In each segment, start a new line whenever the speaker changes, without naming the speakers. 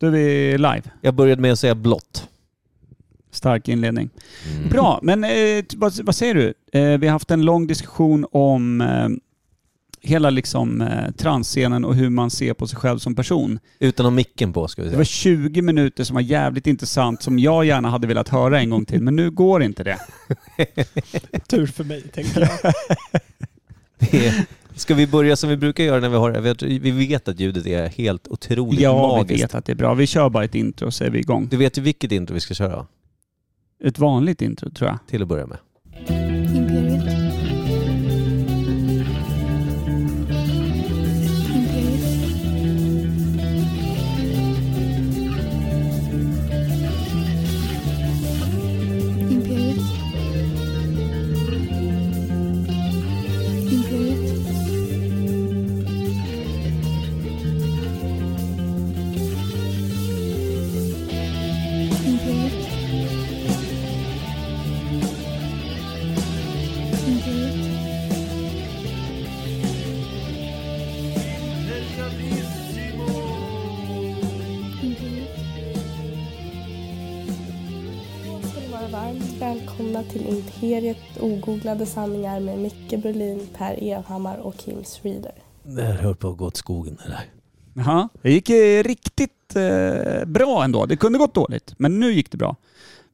Då är vi live.
Jag började med att säga blått.
Stark inledning.
Mm.
Bra, men eh, t- vad, vad säger du? Eh, vi har haft en lång diskussion om eh, hela liksom, eh, transscenen och hur man ser på sig själv som person.
Utan att ha micken på ska vi
Det var
säga.
20 minuter som var jävligt intressant som jag gärna hade velat höra en gång till, men nu går inte det.
Tur för mig, tänker jag.
Det är- Ska vi börja som vi brukar göra när vi har vi- Vi vet att ljudet är helt otroligt
Ja, vi
magiskt.
vet att det är bra. Vi kör bara ett intro och så är vi igång.
Du vet ju vilket intro vi ska köra
Ett vanligt intro tror jag.
till att börja med.
Imperiet. Imperiet. Imperiet. Imperiet. Imperiet. Imperiet. Imperiet.
ska ni vara varmt välkomna till Imperiet ogooglade sanningar med Micke Berlin, Per Evhammar och Kim Schreeder.
Det här höll på att gå åt skogen det där.
Jaha. Det gick eh, riktigt eh, bra ändå. Det kunde gått dåligt, men nu gick det bra.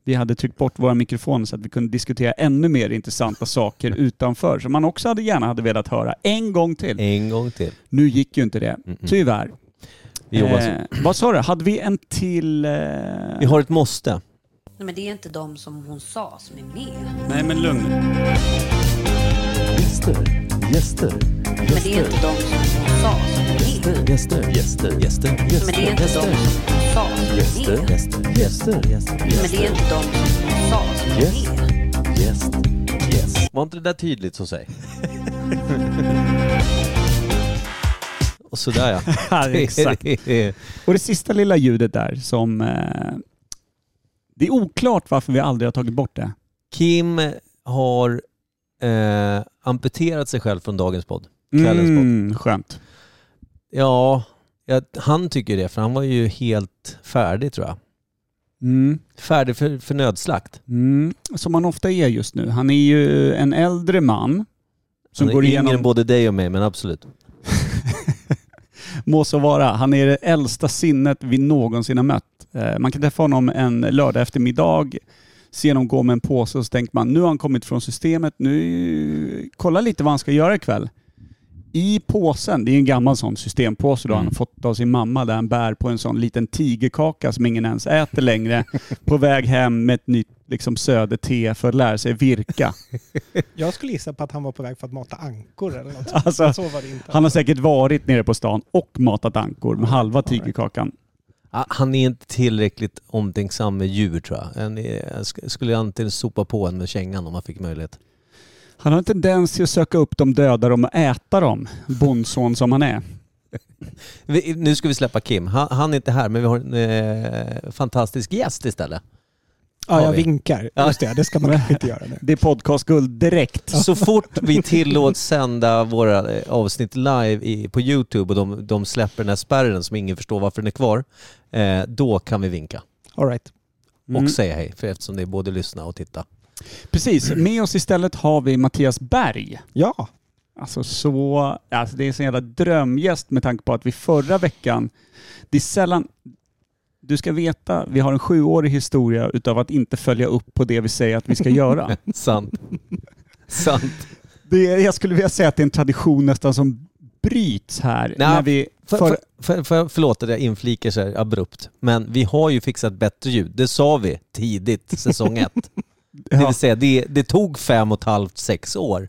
Vi hade tryckt bort våra mikrofoner så att vi kunde diskutera ännu mer intressanta saker
Mm.
utanför, som man också hade gärna hade velat höra en gång till.
En gång till.
Nu gick ju inte det,
Mm-mm.
tyvärr.
Vi jobbar Mm. så.
Typ, Eh, vad sa du? Hade vi en till... Eh...
Vi har ett måste.
Nej, men det är inte de som hon sa som är med.
Nej, men lugn nu.
Gäster, gäster,
Nej, men det är inte de som hon sa som är med.
gäster, gäster, gäster,
Nej, men det är inte de som hon sa som är
gäster,
med.
gäster,
Nej, men det är inte de som hon sa som är med.
gäst, gäst.
Var inte det där tydligt så säg? Och sådär ja.
Ja, exakt.
Det är-
Och det sista lilla ljudet där som... Eh... Det är oklart varför vi aldrig har tagit bort det.
Kim har eh, amputerat sig själv från dagens podd. Kvällens podd.
Mm, skönt.
Ja, jag, han tycker det för han var ju helt färdig tror jag.
Mm.
Färdig för, för nödslakt.
Mm, som han ofta är just nu. Han är ju en äldre man som
han är
går
yngre
igenom...
än både dig och mig men absolut.
Må så vara. Han är det äldsta sinnet vi någonsin har mött. Eh, Man kan träffa honom en lördag eftermiddag, se honom gå med en påse och så tänker man nu har han kommit från systemet, nu kolla lite vad han ska göra ikväll. I påsen, det är en gammal sån systempåse då han har fått av sin mamma där han bär på en sån liten tigerkaka som ingen ens äter längre. på väg hem med ett nytt liksom, söderte för att lära sig virka.
Jag skulle gissa på att han var på väg för att mata ankor eller något.
Alltså,
så var det inte.
Han har säkert varit nere på stan och matat ankor med halva tigerkakan.
Ah, Han är inte tillräckligt omtänksam med djur tror jag. Han är, sk- skulle antingen sopa på en med kängan om han fick möjlighet.
Han har en tendens till att söka upp de döda dem och äta dem. Bondson som han är.
Vi, nu ska vi släppa Kim. Han, han är inte här men vi har en eh, fantastisk gäst istället.
ja, jag
har vi.
vinkar. Just det, det ska man kanske inte göra nu.
Det är podcastguld direkt.
Så fort vi tillåts sända våra eh, avsnitt live i, på Youtube och de, de släpper den här spärren som ingen förstår varför den är kvar, eh, då kan vi vinka
All right.
och
Mm.
säga hej, för eftersom det är både lyssna och titta.
Precis. Med oss istället har vi Mattias Berg.
Ja,
Alltså så... Alltså det är en sån jävla drömgäst med tanke på att vi förra veckan... Det är sällan... Du ska veta, vi har en sjuårig historia utav att inte följa upp på det vi säger att vi ska göra.
Sant. Sant.
Det är, jag skulle vilja säga att det är en tradition nästan som bryts här.
Nej,
när vi
För,
för,
för, för, för, förlåt att jag inflikar så här abrupt, men vi har ju fixat bättre ljud. Det sa vi tidigt, säsong ett. Det
Ja.
vill säga, det, det tog fem och ett halvt, sex år.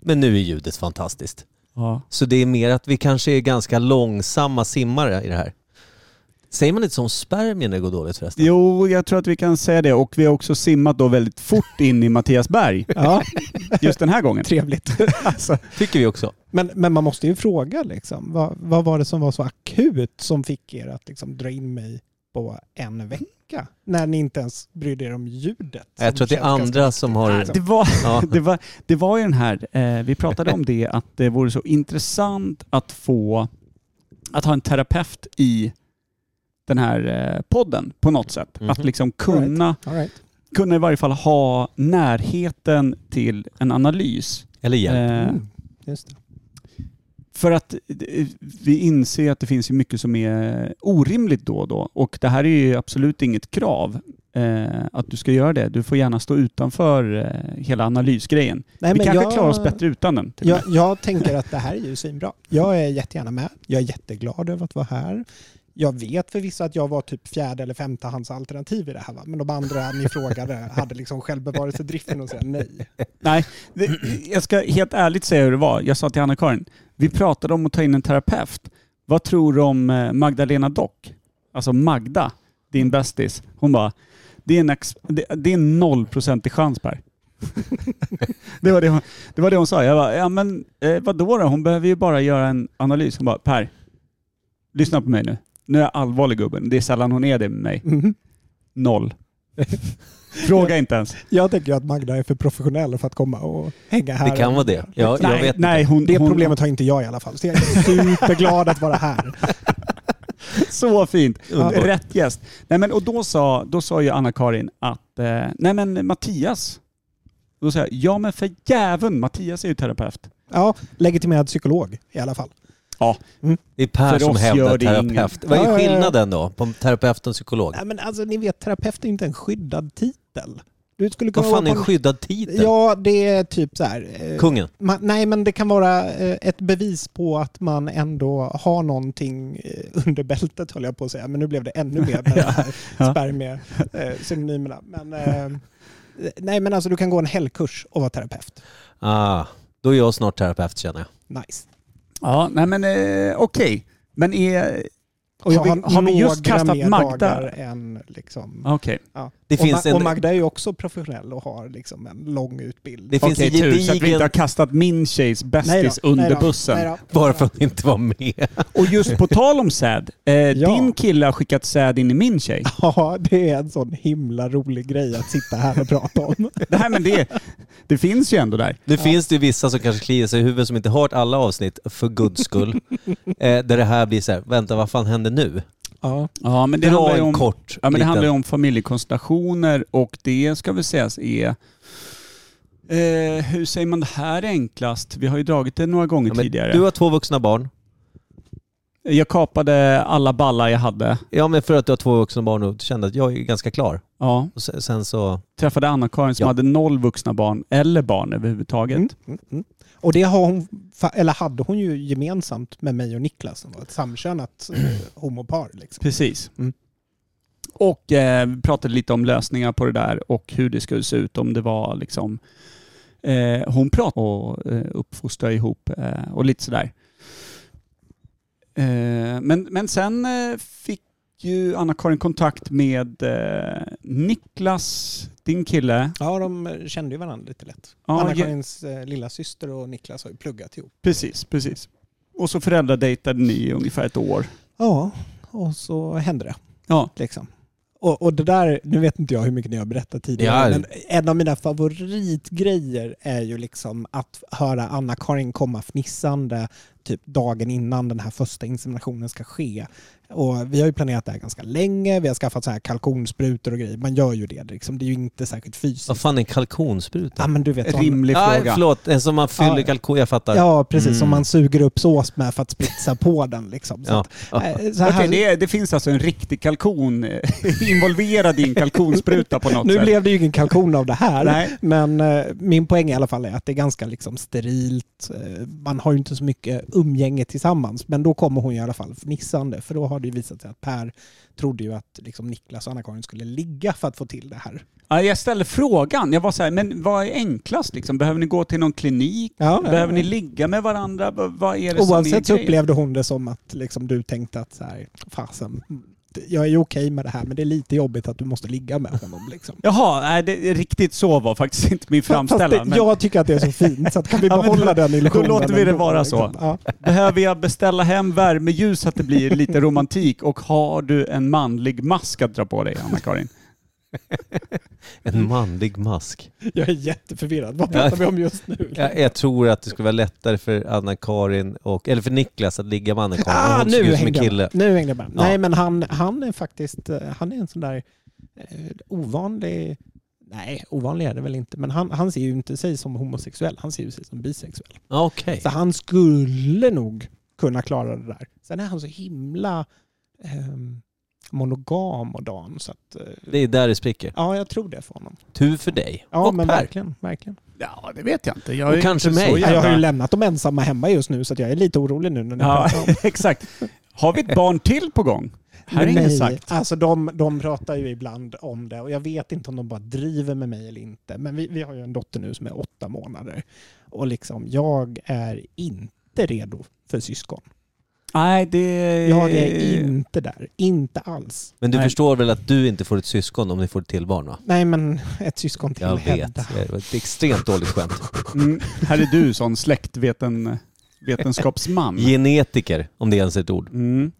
Men nu är ljudet fantastiskt.
ja.
Så det är mer att vi kanske är ganska långsamma simmare i det här. Säger man inte som spermier när det går dåligt förresten?
Jo, jag tror att vi kan säga det. Och vi har också simmat då väldigt fort in i Mattias Berg
ja
just den här gången.
trevligt.
Alltså,
Tycker vi också.
Men, men man måste ju fråga liksom. Vad, vad var det som var så akut som fick er att liksom, dra in mig på en vecka? När ni inte ens brydde er om ljudet.
Jag
som
tror att det är
känns ganska-
andra som har...
Ah, det, var,
Ja.
det, var, det var ju den här, eh, vi pratade om det, att det vore så intressant att få, att ha en terapeut i den här eh, podden på något sätt.
Mhm.
Att liksom kunna,
All right.
kunna i varje fall ha närheten till en analys.
Eller hjälp.
Eh,
Mm. Just det.
För att eh, vi inser att det finns ju mycket som är orimligt då och då. Och det här är ju absolut inget krav eh, att du ska göra det. Du får gärna stå utanför eh, hela analysgrejen.
Nej,
vi
men
kanske
jag-
klarar oss bättre utan den.
Typ.
till och
Jag, jag tänker att det här är ju svinbra. Jag är jättegärna med. Jag är jätteglad över att vara här. Jag vet förvisso att jag var typ fjärde eller femte hans alternativ i det här. Va? Men de andra ni frågade hade liksom självbevarelsedriften och säga nej.
Nej, det, jag ska helt ärligt säga hur det var. Jag sa till Anna-Karin, vi pratade om att ta in en terapeut. Vad tror du om eh, Magdalena Dock? Alltså Magda, din bästis. Hon bara, det är en, ex, det, det är en nollprocentig chans Per. det, var det, hon, det var det hon sa. Jag bara, ja men eh, vadå då? Hon behöver ju bara göra en analys. Hon bara, Per, lyssna på mig nu. Nu är jag allvarlig gubben. Det är sällan hon är det med mig.
Mm.
Mhm.
Noll. Fråga inte ens.
Jag tänker att Magda är för professionell för att komma och hänga här.
Det kan vara det. Ja, jag
nej,
vet
nej, hon,
Det
hon,
problemet har inte jag i alla fall. Så jag är superglad att vara här.
Så fint.
Underbart.
Rätt gäst. Nej, men, och då sa, då sa ju Anna-Karin att, eh, nej men Mattias. Då sa jag, ja men för jäveln, Mattias är ju terapeut.
Ja, legitimerad psykolog i alla fall.
Det är Per
För
som
oss
hävdar
gör det
terapeut.
ingen-
Vad
Ja, ja,
är
ja.
skillnaden då på terapeut och psykolog?
Nej, men alltså, ni vet, terapeut är inte en skyddad titel. Du skulle kunna
Vad fan är
vara
en
på
skyddad titel?
Ja, det är typ så här. eh,
Kungen?
Man, nej, men det kan vara eh, ett bevis på att man ändå har någonting eh, under bältet, höll jag på att säga. Men nu blev det ännu mer med de här
Ja.
spermie-synonymerna. Men, eh, nej, men alltså du kan gå en helgkurs och vara terapeut.
Ah, då är jag snart terapeut känner jag.
Nice.
Ja, nej men eh, okej. Men är...
Och jag
Har vi- har vi just
några
kastat
mer
Magda?
dagar Än, liksom,
Okej.
ja.
Det
och,
finns
Ma-
en-
och Magda är ju också professionell och har liksom en lång utbildning.
Det finns
Okej,
en
tur så att vi inte har
gedigen...
kastat min tjejs
Nej då,
bästis
nej
under
då,
bussen.
nej då.
Bara för att inte vara med.
Och just på tal om säd. Eh,
Ja.
Din kille har skickat säd in i min tjej.
Ja, det är en sån himla rolig grej att sitta här och prata om.
Det, här, men det, det finns ju ändå där.
Nu finns det ju vissa som kanske kliar sig i huvudet som inte hört alla avsnitt, för guds skull. eh, där det här blir så här, vänta vad fan händer nu?
Ja.
Ja, men det
Dra
handlar ju
en
om...
kort
Ja, men det
liten-
handlar ju om familjekonstellationer och det ska väl sägas är... Eh, hur säger man det här enklast? Vi har ju dragit det några gånger
Ja, men
tidigare.
Du har två vuxna barn.
Jag kapade alla ballar jag hade.
Ja men för att du har två vuxna barn och kände att jag är ganska klar.
Ja.
Och sen, sen så...
Träffade Anna-Karin som
Ja.
hade noll vuxna barn, eller barn överhuvudtaget.
Mm, mm, mm. Och det har hon, fa- eller hade hon ju gemensamt med mig och Niklas som var ett samkönat eh, homopar. Liksom.
Precis.
Mm.
Och eh, vi pratade lite om lösningar på det där och hur det skulle se ut om det var liksom... Eh, hon pratade och eh, uppfostra ihop eh, och lite sådär. Eh, men, men sen eh, fick ju Anna-Karin kontakt med eh, Niklas, din kille.
Ja, de kände ju varandra lite lätt.
Ja, ge-
Anna-Karins eh, lilla syster och Niklas har ju pluggat ihop.
precis, precis. Och så föräldradejtade ni i ungefär ett år.
Ja, och så hände det.
Ja.
Liksom. Och, och det där, nu vet inte jag hur mycket ni har berättat
Ja.
tidigare, men en av mina favoritgrejer är ju liksom att höra Anna-Karin komma fnissande typ dagen innan den här första inseminationen ska ske. Och vi har ju planerat det här ganska länge, vi har skaffat så här kalkonsprutor och grejer. Man gör ju det, liksom. det är ju inte särskilt fysiskt.
Vad fan är en kalkonspruta?
Ja, men du vet, sån-
Rimlig
Nej,
fråga.
förlåt. En som man fyller
Ja.
kalkon... Jag fattar.
Ja, precis. Som
Mm.
man suger upp sås med för att spritsa på den. Liksom. Så
Ja.
att, eh, så här,
Okej, det, är- det finns alltså en riktig kalkon eh, involverad i en kalkonspruta på något
nu
sätt.
blev det ju ingen kalkon av det här.
Nej.
Men eh, min poäng i alla fall är att det är ganska liksom sterilt. Eh, man har ju inte så mycket umgänge tillsammans. Men då kommer hon ju i alla fall fnissande. För då har det ju visat sig att Per trodde ju att liksom, Niklas och Anna-Karin skulle ligga för att få till det här.
Ja, jag ställde frågan. Jag var så här, men vad är enklast liksom? Behöver ni gå till någon klinik?
Ja,
Behöver ni ligga med varandra? V- Vad är det
Oavsett så
som är grejen?
upplevde hon det som att liksom, du tänkte att så här, fasen, jag är ju okej med det här men det är lite jobbigt att du måste ligga med honom. Liksom.
Jaha, nej, det, riktigt så var faktiskt inte min
Fast det,
framställan. men
Jag tycker att det är så fint, så att kan vi
Ja, men
behålla
då-
den illusionen?
då låter vi det
ändå,
vara
liksom.
så.
Ja.
Behöver jag beställa hem värmeljus så att det blir lite romantik? Och har du en manlig mask att dra på dig, Anna-Karin?
En manlig mask.
Jag är jätteförvirrad. Vad pratar vi om just nu?
Jag, jag tror att det skulle vara lättare för Anna-Karin och, eller för Niklas att ligga med Anna-Karin.
Ah,
Hon såg ut
nu
som en
hängde, jag
kille.
med. nu hängde jag med.
Ja.
Nej, men han, han är faktiskt eh, han är en sån där eh, ovanlig... Nej, ovanlig är det väl inte. Men han, han ser ju inte sig som homosexuell. Han ser ju sig som bisexuell.
Ah, Okej.
Så han skulle nog kunna klara det där. Sen är han så himla ehm, monogam och dan. Så att, eh,
Det är där det spricker.
ja, jag tror det för honom.
Tur för dig.
Ja,
och
men
Per.
verkligen. verkligen.
Ja, det vet jag inte. Jag
Och
är
kanske
inte så
mig.
Ja, jag har ju
jävla-
lämnat dem ensamma hemma just nu så att jag är lite orolig nu när ni
Ja,
pratar om
exakt. Har vi ett barn till på gång? Här är
Men
inget
nej,
sagt.
Alltså de, de pratar ju ibland om det och jag vet inte om de bara driver med mig eller inte. Men vi, vi har ju en dotter nu som är åtta månader och liksom jag är inte redo för syskon.
Nej, det...
Jag
Eh.
är inte där. Inte alls.
Men du
Nej.
förstår väl att du inte får ett syskon om ni får ett till barn va?
Nej men ett syskon till
Jag vet. Eh.
Hedda.
Det var ett extremt dåligt skämt.
Mm, här är du sån släktvetenskapsman.
Genetiker, om det ens är ett ord.
Mm.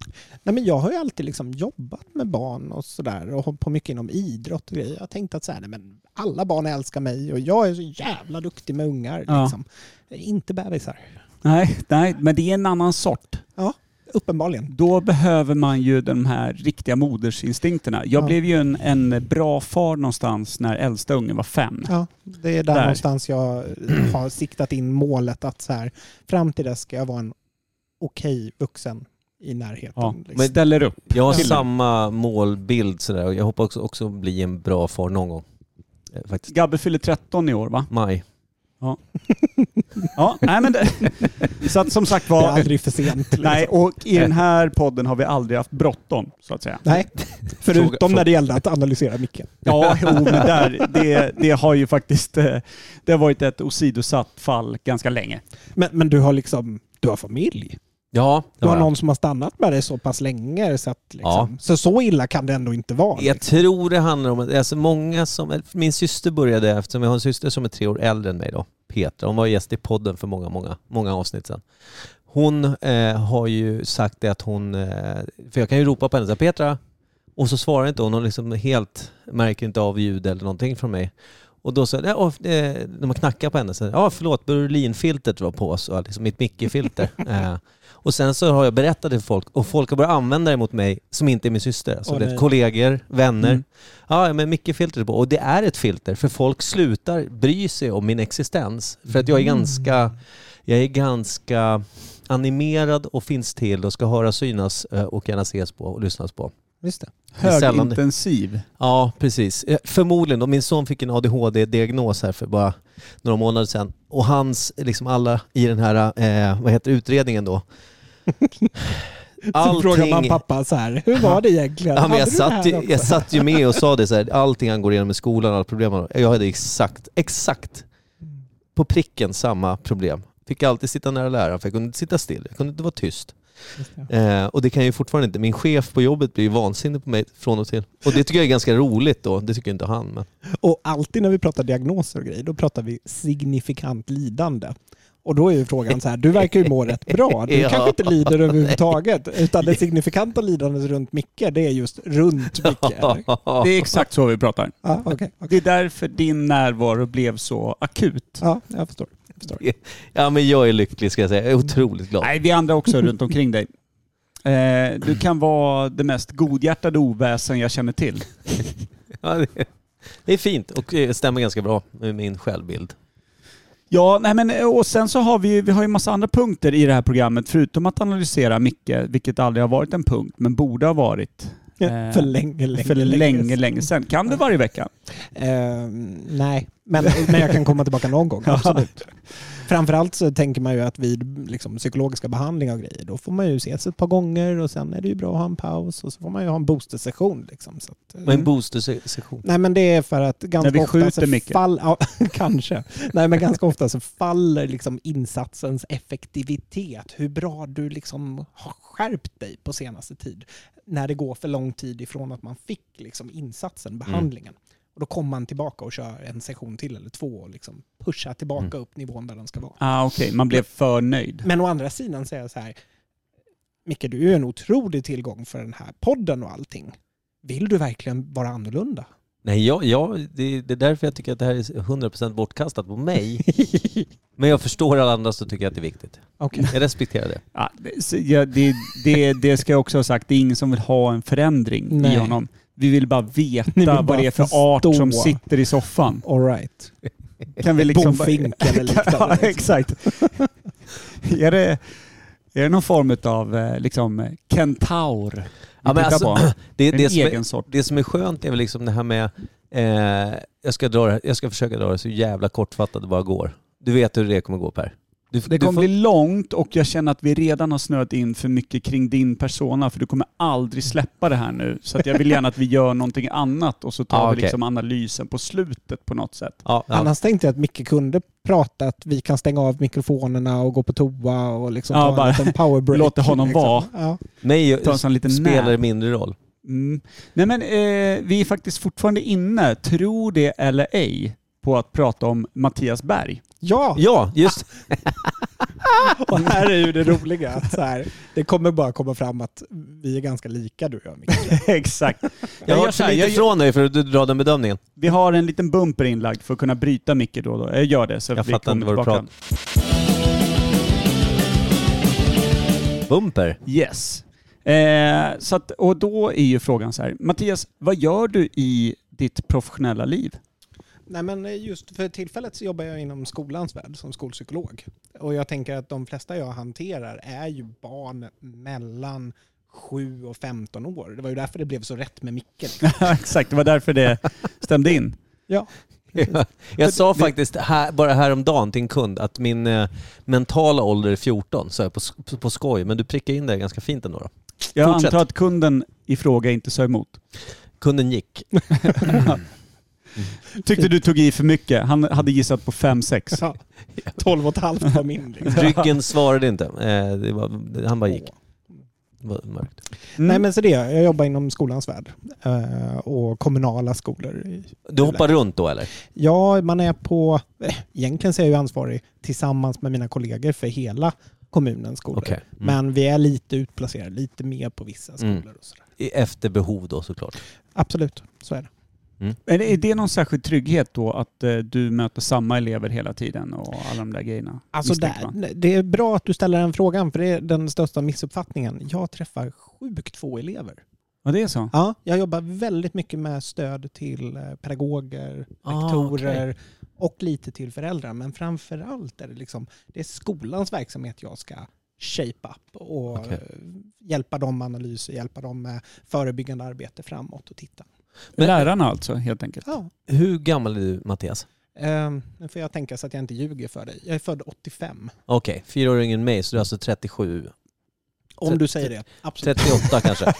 Nej, men jag har ju alltid liksom jobbat med barn och sådär och hållit på mycket inom idrott och grejer. Jag tänkte att så här, nej, men alla barn älskar mig och jag är så jävla duktig med ungar.
Ja.
Liksom. Inte bebisar.
Nej, nej, men det är en annan sort.
Uppenbarligen.
Då behöver man ju de här riktiga modersinstinkterna. Jag
Ja.
blev ju en, en bra far någonstans när äldsta ungen var fem.
Ja, det är där,
Där.
någonstans jag eh, har siktat in målet att så här, fram till dess ska jag vara en okej vuxen i närheten.
Ja,
liksom.
men ställer upp.
Jag har
Killen.
samma målbild sådär och jag hoppas också, också bli en bra far någon gång. Eh, Faktiskt.
Gabbe fyller 13 i år va?
Maj.
Ja, nej men det, Så att som sagt
det är
var...
aldrig för sent. liksom.
Nej, och i den här podden har vi aldrig haft bråttom, så att säga.
Nej,
Fråga-
förutom
fråga-
när det gällde att analysera Micke.
Ja, jo, men där, det, det har ju faktiskt eh, det har varit ett åsidosatt fall ganska länge.
Men, men du har liksom du har familj.
Ja, det
Du
har
har
jag.
någon som har stannat med dig så pass länge. Så, att, liksom,
Ja.
så så illa kan det ändå inte vara. liksom.
Jag tror det handlar om, alltså många som, min syster började, eftersom jag har en syster som är tre år äldre än mig då, Petra, hon var gäst i podden för många, många, många avsnitt sedan. Hon eh, har ju sagt det att hon, eh, för jag kan ju ropa på henne så här, Petra, och så svarar inte hon, hon liksom helt märker inte av ljud eller någonting från mig. Och då så, ja, och, eh, när man knackar på henne, så, ja förlåt, Berlinfiltret var på oss, och liksom mitt Micke-filter. eh, och sen så har jag berättat det för folk, och folk har börjat använda det mot mig som inte är min syster. Alltså,
Åh,
det är
nej.
kollegor, vänner.
Mm.
Ja, men Micke-filtret på. Och det är ett filter, för folk slutar bry sig om min existens. För att jag är
Mm.
ganska, jag är ganska animerad och finns till och ska höra, synas eh, och gärna ses på och lyssnas på.
Just det.
Det är sällan-
Högintensiv.
Ja, precis. Eh, Förmodligen. Och min son fick en ADHD-diagnos här för bara några månader sedan. Och hans, liksom alla i den här, eh, vad heter utredningen då?
Så frågar man pappa så här, hur var det egentligen?
Ja, men
Hade
jag,
du det
satt
här
ju,
också?
jag satt ju med och sa det så här, allting han går igenom i skolan, alla problem han har. Jag hade exakt, exakt på pricken samma problem. Fick alltid sitta nära läraren för jag kunde inte sitta still, jag kunde inte vara tyst.
Just det.
Eh, och det kan jag ju fortfarande inte. Min chef på jobbet blir ju vansinnig på mig från och till. Och det tycker jag är ganska roligt då, det tycker inte han. Men.
Och alltid när vi pratar diagnoser och grejer, då pratar vi signifikant lidande. Och då är ju frågan så här, du verkar ju må rätt bra. Du
Ja.
kanske inte lider överhuvudtaget. Utan det signifikanta lidandet runt Micke, det är just runt Micke. eller?
Det är exakt så vi pratar.
Ja, okej. okej.
Det är därför din närvaro blev så akut.
Ja, jag förstår.
Ja men jag är lycklig ska jag säga, jag är otroligt glad.
Nej, vi andra också runt omkring dig. Eh, du kan vara det mest godhjärtade oväsen jag känner till.
Ja, det, det är fint och eh, stämmer ganska bra med min självbild.
Ja, nej men, eh, och sen så har vi ju, vi har ju massa andra punkter i det här programmet, förutom att analysera Micke, vilket aldrig har varit en punkt, men borde ha varit Eh,
För länge, länge,
för länge, länge sedan. Kan du varje vecka?
Eh, nej, men, men jag kan komma tillbaka någon gång. Absolut. Framförallt så tänker man ju att vid liksom, psykologiska behandlingar och grejer, då får man ju ses ett par gånger och sen är det ju bra att ha en paus och så får man ju ha en boostersession. Liksom, så att, eh,
Men boostersession.
Nej men det är för att ganska
När vi
ofta
skjuter
så
mycket.
fall, ja, kanske. Nej men ganska ofta så faller liksom insatsens effektivitet, hur bra du liksom har skärpt dig på senaste tid, när det går för lång tid ifrån att man fick liksom
Mm.
insatsen, behandlingen. Och då kommer man tillbaka och kör en session till eller två och liksom pushar tillbaka
Mm.
upp nivån där den ska vara.
Ah, Okej, man blev för nöjd.
Men å andra sidan säger jag så här, Micke du är ju en otrolig tillgång för den här podden och allting. Vill du verkligen vara annorlunda?
Nej, jag, jag, det, det är därför jag tycker att det här är 100% bortkastat på mig. Men jag förstår alla andra som tycker att det är viktigt.
Okej.
Jag respekterar det.
Ja, det- Ah, så jag- det, det, det ska jag också ha sagt, det är ingen som vill ha en förändring
Nej.
i honom. Vi vill bara veta
Ni vill bara
vad det är för art som
förstå.
sitter i soffan.
All right.
Kan vi liksom bara-
Bofinken eller
ja,
liknande. liksom.
exakt. är, det, är det någon form av liksom, kentaur? vi
men
tittar
alltså,
på?
Det,
En
det, som är,
egen sort.
det som är skönt är väl liksom det här med... Eh, jag, ska dra, det här- jag ska försöka dra det så jävla kortfattat det bara går. Du vet hur det kommer gå Per. Du,
Det
du
kommer
får-
bli långt och jag känner att vi redan har snöat in för mycket kring din persona för du kommer aldrig släppa det här nu. Så att jag vill gärna att vi gör någonting annat och så tar
Ja,
vi
Ah, okej.
liksom analysen på slutet på något sätt.
ja, ja.
Annars tänkte jag att Micke kunde prata att vi kan stänga av mikrofonerna och gå på toa och liksom
Ja,
ta
bara
en liten powerbreak.
låter honom
liksom.
vara.
Ja.
Mig
Ta en sån liten
spelar det
nap.
mindre roll.
Mm. Nej men eh, vi är faktiskt fortfarande inne, tro det eller ej, på att prata om Mattias Berg.
Ja,
Ja, just
och här är ju det roliga. Att så här, det kommer bara komoma fram att vi är ganska lika du och jag, Micke.
Exakt.
Jag har
gör
hört
så
så
här,
lite
jag gör-
från dig för att du drar den bedömningen.
Vi har en liten bumper inlagd för att kunna bryta Micke då och då. Jag gör det så
Jag
vi
fattar
kommer
inte vad du
tillbaka.
pratar Bumper.
Yes. Eh, så att, och då är ju frågan så här. Mattias, vad gör du i ditt professionella liv?
Nej, men just för tillfället så jobbar jag inom skolans värld som skolpsykolog. Och jag tänker att de flesta jag hanterar är ju barn mellan 7 och 15 år. Det var ju därför det blev så rätt med Micke. liksom.
Exakt, det var därför det stämde in.
Ja.
Jag, jag sa faktiskt här, bara häromdagen till en kund att min eh, mentala ålder är 14, så jag på, sk- på skoj. Men du prickar in det ganska fint ändå. Då.
Jag
Fortsätt.
antar att kunden i fråga inte sa emot.
Kunden gick.
Tyckte du tog i för mycket. Han hade gissat på 5-6.
Ja. 12 och ett halvt var min. Liksom.
Ryggen svarade inte. Eh, det var, han bara gick. Det var mörkt.
Mm.
Nej men så det, gör jag Jag jobbar inom skolans värld eh, och kommunala skolor.
Du hoppar runt då eller?
Ja, man är på, eh, egentligen så är jag ju ansvarig tillsammans med mina kollegor för hela kommunens skolor.
Okej. Mm.
Men vi är lite utplacerade, lite mer på vissa
Mm.
skolor. Och sådär.
I- Efter behov då såklart.
Absolut, så är det.
Är det- Är det någon särskild trygghet då att eh, du möter samma elever hela tiden och alla de där grejerna?
Alltså
Misstänker man.
där, det är bra att du ställer den frågan, för det är den största missuppfattningen. Jag träffar sjukt få elever.
Ja, det är så.
Ja, jag jobbar väldigt mycket med stöd till eh, pedagoger,
Ah,
rektorer och lite till föräldrar. Men framför allt är det, liksom, det är skolans verksamhet jag ska shape up och
Okej.
eh, hjälpa dem med analyser, hjälpa dem med förebyggande arbete framåt och titta.
Men-
Lärarna alltså, helt enkelt.
Ja.
Hur gammal är du Mattias?
ehm, nu får jag tänka så att jag inte ljuger för dig. Jag är född 85.
Okej, fyra år yngre än mig så du är alltså 37
Om du säger det. Absolut.
38 kanske.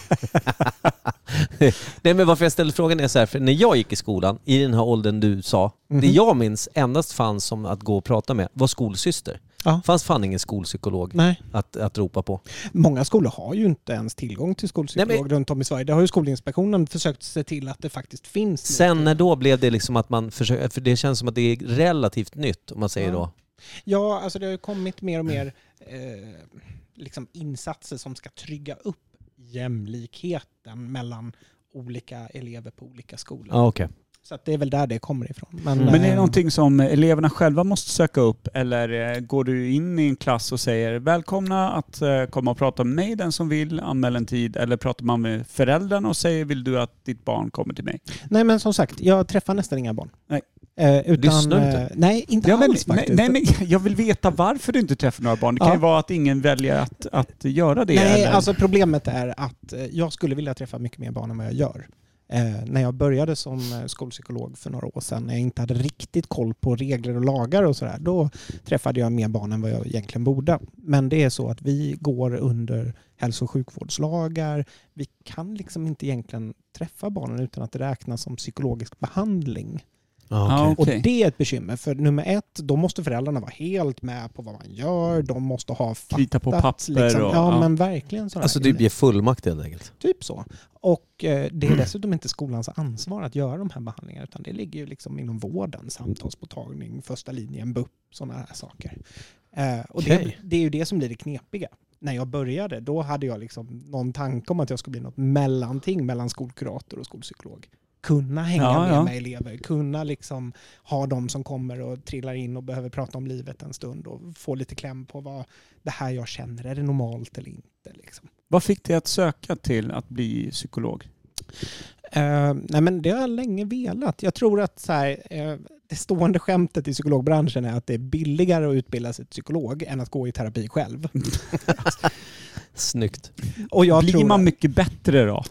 Nej men varför jag ställde frågan är så här, för när jag gick i skolan, i den här åldern du sa,
Mhm.
det jag minns endast fanns som att gå och prata med var skolsyster.
Ja.
fanns fan ingen skolpsykolog
Nej.
att, att ropa på.
Många skolor har ju inte ens tillgång till skolpsykolog
Nej, men-
runt om i Sverige. Det har ju Skolinspektionen försökt se till att det faktiskt finns. nu.
Sen när då blev det liksom att man försöker, för det känns som att det är relativt nytt om man säger
Ja.
då.
Ja, alltså det har ju kommit mer och mer eh, liksom insatser som ska trygga upp jämlikheten mellan olika elever på olika skolor.
Ja okej.
Så att det är väl där det kommer ifrån. Men,
Mm.
Men är det
eh,
någonting som eleverna själva måste söka upp eller eh, går du in i en klass och säger välkomna att eh, komma och prata med mig den som vill, anmäl en tid. Eller pratar man med föräldrarna och säger vill du att ditt barn kommer till mig?
Nej, men som sagt, jag träffar nästan inga barn.
Nej.
Eh, utan,
Lyssnar du inte?
eh, Nej, inte
Ja, men,
alls
nej,
faktiskt.
nej, men jag vill veta varför du inte träffar några barn. Det kan
Ja.
ju vara att ingen väljer att, att göra det.
Nej,
eller?
alltså problemet är att eh, jag skulle vilja träffa mycket mer barn än vad jag gör. Eh, när jag började som eh, skolpsykolog för några år sedan, när jag inte hade riktigt koll på regler och lagar och sådär, då träffade jag mer barn än vad jag egentligen borde. Men det är så att vi går under hälso och sjukvårdslagar. Vi kan liksom inte egentligen träffa barnen utan att det räknas som psykologisk behandling.
Ja,
Ja,
okej.
Och
Ah, okej.
det är ett bekymmer, för nummer ett, då måste föräldrarna vara helt med på vad man gör. De måste ha
Krita på
fattat,
papper
liksom.
och...
ja, men verkligen sådana
Alltså
här
typ
grejer.
ge fullmakt helt enkelt.
Typ så. Och eh, det är dessutom inte skolans ansvar att göra de här behandlingarna utan det ligger ju liksom inom vården, samtalsmottagning, första linjen, BUP, sådana här saker. Eh, och
Okej.
det, det är ju det som blir det knepiga. När jag började, då hade jag liksom någon tanke om att jag skulle bli något mellanting mellan skolkurator och skolpsykolog. kunna hänga
Ja,
med
ja.
mig elever, kunna liksom ha de som kommer och trillar in och behöver prata om livet en stund och få lite kläm på vad det här jag känner, är det normalt eller inte? Liksom.
Vad fick dig att söka till att bli psykolog?
Eh, nej men det har jag länge velat. Jag tror att så här, eh, det stående skämtet i psykologbranschen är att det är billigare att utbilda sig till psykolog än att gå i terapi själv.
Snyggt.
Och jag
Blir
tror
man mycket bättre då?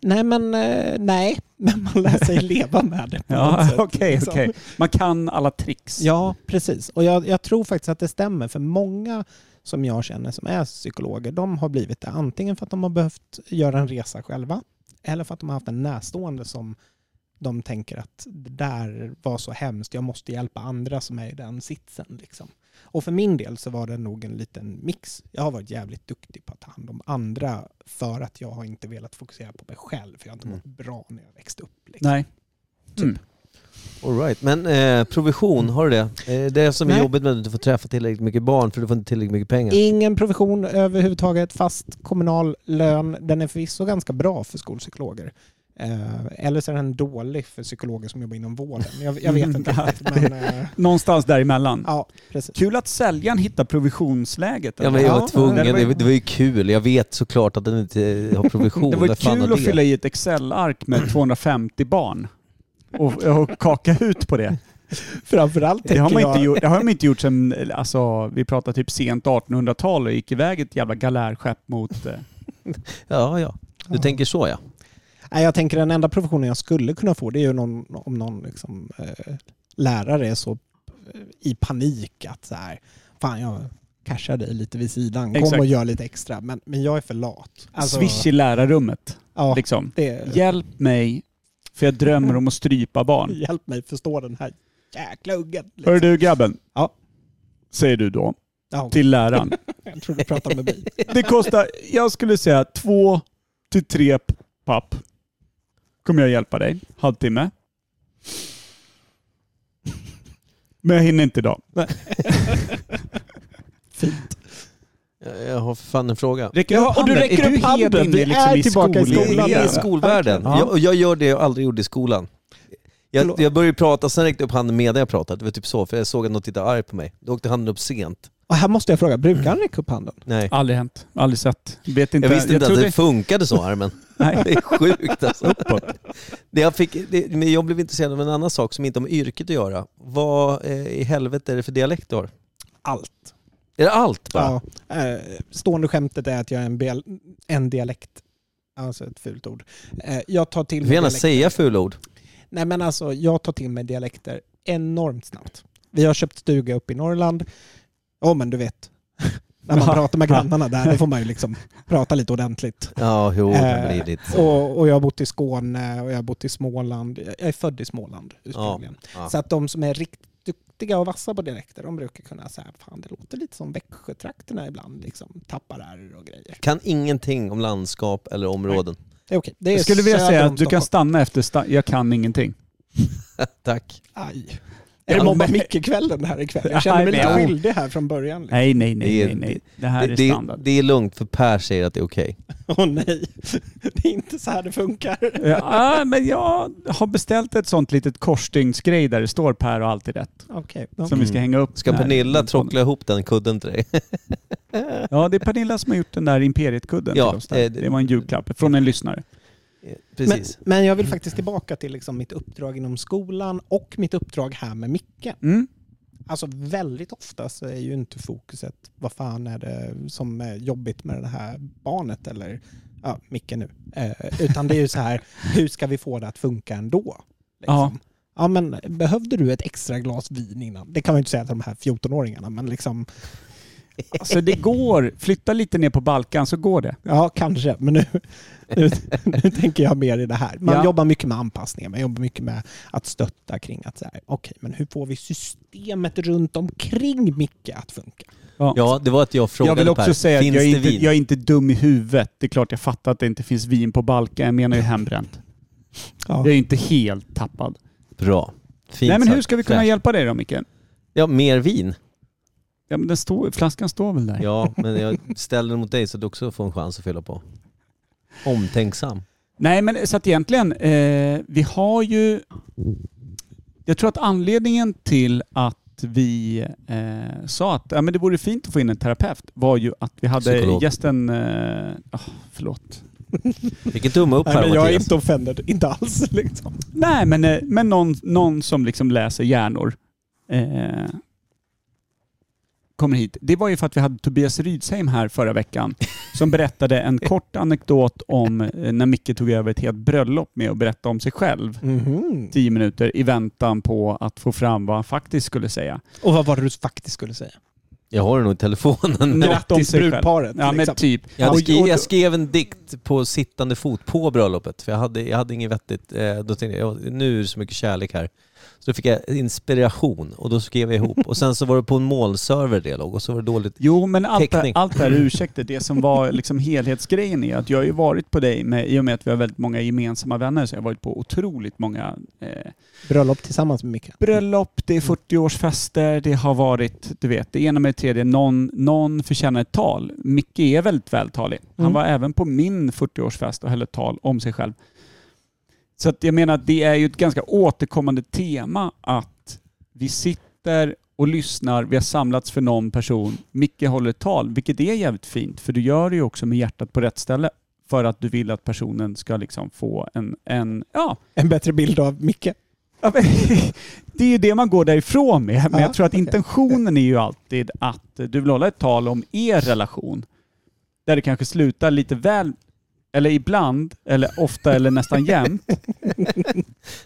Nej, men eh, nej, men man lär sig leva med det på något
Ja,
sätt.
okej,
liksom.
okej. Man kan alla tricks.
Ja, precis. Och jag, jag tror faktiskt att det stämmer, för många som jag känner som är psykologer, de har blivit det antingen för att de har behövt göra en resa själva, eller för att de har haft en närstående som de tänker att det där var så hemskt, jag måste hjälpa andra som är i den sitsen. Liksom. Och för min del så var det nog en liten mix. Jag har varit jävligt duktig på att ta hand om andra för att jag har inte velat fokusera på mig själv, för jag har inte
Mm.
mått bra när jag växte upp. Liksom.
Nej. Mm.
All right. Men eh, provision, har du det? Eh, det som är
Nej.
jobbigt med att du inte får träffa tillräckligt mycket barn för du får inte tillräckligt mycket pengar.
Ingen provision överhuvudtaget, fast kommunal lön. Den är förvisso ganska bra för skolpsykologer. Eh, eller så är den dålig för psykologer som jobbar inom vården. Jag, jag vet inte riktigt, men eh,
Någonstans däremellan.
ja, precis.
Kul att säljaren hittar provisionsläget.
Ja, men jag var
Ja,
tvungen.
det var
Det
ju-
var, det var ju kul. Jag vet såklart att den inte eh, har provision.
det var ju
Vad fan har
kul att
det?
fylla i ett Excel-ark med 250 barn och, och kaka ut på det.
Framförallt
Det har
tänker
man inte
jag...
gjort, det har man inte gjort sen, alltså, vi pratar typ sent 1800-tal och gick iväg ett jävla galärskepp mot... Eh,
Ja, ja. Du
Ja.
tänker så ja.
Nej, jag tänker den enda professionen jag skulle kunna få det är ju någon, om någon liksom, eh, lärare är så eh, i panik att så här, fan jag cashar dig lite vid sidan, kom
Exakt.
och gör lite extra. Men, men jag är för lat. Alltså,
Swish i lärarrummet.
ja,
Liksom.
det,
Hjälp mig, för jag drömmer om att strypa barn.
Hjälp mig förstå den här jäkla uggen.
Hör du grabben?
Ja.
Säger du då
Ja,
till läraren.
jag tror du pratar med mig.
Det kostar, jag skulle säga två till tre papp. Kommer jag hjälpa dig. Halvtimme. Men jag hinner inte idag.
Jag- Jag har för fan en fråga.
Räcker
Ja, och du
handen?
räcker
Är du
upp
helt
handen.
inne
Vi
liksom
är
i
tillbaka i
skol-
skolan.
Det är
Ja.
i skolvärlden.
Ja.
Jag, och jag gör det jag aldrig gjorde i skolan. Jag,
Förlåt.
jag började prata, sen räckte jag upp handen medan jag pratade. Det var typ så, för jag såg att någon tittade arg på mig. Då åkte handen upp sent.
Och här måste jag fråga, brukar han räcka upp handen?
Nej.
Aldrig hänt. Aldrig sett. Vet inte.
Jag visste inte att
trodde-
det funkade så, armen.
Nej.
Det är sjukt alltså. Det jag, fick, det, men jag blev intresserad av en annan sak som inte har med yrket att göra. Vad eh, i helvete är det för dialekt du har?
Allt.
Är det allt bara?
Ja. eh, Stående skämtet är att jag är en, bel, en dialekt. Alltså ett fult ord. Eh, Jag tar till
Du får
mig
gärna
dialekter.
säga fula ord.
Nej men alltså, jag tar till mig dialekter enormt snabbt. Vi har köpt stuga uppe i Norrland. Ja men du vet, när man
Ja.
pratar med grannarna där, då får man ju liksom prata lite ordentligt.
Ja, jo, det
Eh,
blir lite så.
Och, och jag har bott i Skåne och jag har bott i Småland. Jag är född i Småland ursprungligen.
ja.
Så att de som är riktigt duktiga och vassa på dialekter, de brukar kunna säga fan det låter lite som Växjötrakterna ibland, liksom tappar R och grejer.
Kan ingenting om landskap eller områden.
Det är okej. Det är
Jag skulle vilja
söder
säga
om
att du kan
Stockholm.
stanna efter sta- Jag kan ingenting.
Tack.
Aj. Är det Mobba Micke-kvällen här ikväll? Jag känner mig
Nej,
lite
men-
skyldig här från början. liksom. Åh
Nej, nej,
Det
nej,
är-
nej, nej. Det här
Det,
är
det,
standard.
det är lugnt för Per säger att det är okej.
nej, det är inte så här det funkar.
Ja, ah, men jag har beställt ett sånt litet korsstygnsgrej där det står Per och alltid rätt.
Okej.
Som vi ska hänga upp.
Mm. Ska
när-
Pernilla trockla ihop den kudden till dig?
Ja, det är Pernilla som har gjort den där Imperiet-kudden
Ja,
till oss. Där.
eh, det-
Det var en julklapp från en lyssnare.
Men,
Precis.
men jag vill faktiskt tillbaka till liksom mitt uppdrag inom skolan och mitt uppdrag här med Micke.
Mm.
Alltså väldigt ofta så är ju inte fokuset vad fan är det som är jobbigt med det här barnet eller ja, Micke nu. Eh, utan det är ju så här, hur ska vi få det att funka ändå? Liksom. Ja. men behövde du ett extra glas vin innan? Det kan man ju inte säga till de här 14-åringarna, men liksom,
Alltså det går. Flytta lite ner på Balkan så går det.
ja kanske, men nu, nu, nu tänker jag mer i det här. Man
Ja.
jobbar mycket med anpassningar, man jobbar mycket med att stötta kring att så här, okej, men hur får vi systemet runt omkring Micke att funka?
Ja, det var att jag frågade
Jag vill
Per,
också säga att
finns
jag är,
det
inte,
vin?
jag är inte dum i huvudet. Det är klart jag fattar att det inte finns vin på Balkan. Jag menar ju hembränt.
Ja.
Jag är inte helt tappad.
Bra. Fint
Nej men hur
sagt.
ska vi kunna
Fräscht.
hjälpa dig då Micke?
Ja, mer vin.
Ja, men den står, flaskan står väl där?
Ja, men jag ställer den mot dig så att du också får en chans att fylla på. Omtänksam.
Nej, men så att egentligen, eh, vi har ju... Jag tror att anledningen till att vi eh, sa att ja, men det vore fint att få in en terapeut var ju att vi hade
Psykolog.
gästen... Eh, ah, förlåt.
Vilken tumme upp
Nej,
här
men jag är
Mattias.
inte offended. Inte alls liksom.
Nej, men, eh, men någon, någon som liksom läser hjärnor eh, kommer hit. Det var ju för att vi hade Tobias Rydsheim här förra veckan som berättade en kort anekdot om eh, när Micke tog över ett helt bröllop med att berätta om sig själv.
Mhm. Typ.
tio minuter i väntan på att få fram vad han faktiskt skulle säga.
Och vad var det du faktiskt skulle säga?
Jag har den nog i telefonen.
Något om
Grattis
sig själv.
brudparet.
Ja, men
liksom.
typ.
Jag,
Och-
hade skri-
och-
jag skrev en dikt på sittande fot på bröllopet, för jag hade, jag hade inget vettigt. Eh, då tänkte jag, "Ja, nu är det så mycket kärlek här. Så då fick jag inspiration och då skrev jag ihop. Och sen så var det på en molnserver det låg och så var det dåligt.
Jo, men allt det,
Teckning.
allt det här är ursäkter. Det som var liksom helhetsgrejen är att jag har ju varit på dig med, i och med att vi har väldigt många gemensamma vänner, så jag har varit på otroligt många eh,
Bröllop tillsammans med Micke.
bröllop, det är 40-årsfester, det har varit, du vet, det ena med det tredje. Någon, någon förtjänar ett tal. Micke är väldigt vältalig. Han
Mm.
var även på min 40-årsfest och höll ett tal om sig själv. Så att jag menar att det är ju ett ganska återkommande tema att vi sitter och lyssnar, vi har samlats för någon person, Micke håller ett tal, vilket är jävligt fint, för du gör det ju också med hjärtat på rätt ställe för att du vill att personen ska liksom få en, en ja,
En bättre bild av Micke.
Ja, men, det är ju det man går därifrån med. Men
Ja,
jag tror att
okej.
intentionen är ju alltid att eh, du vill hålla ett tal om er relation. Där det kanske slutar lite väl, eller ibland, eller ofta eller nästan jämt.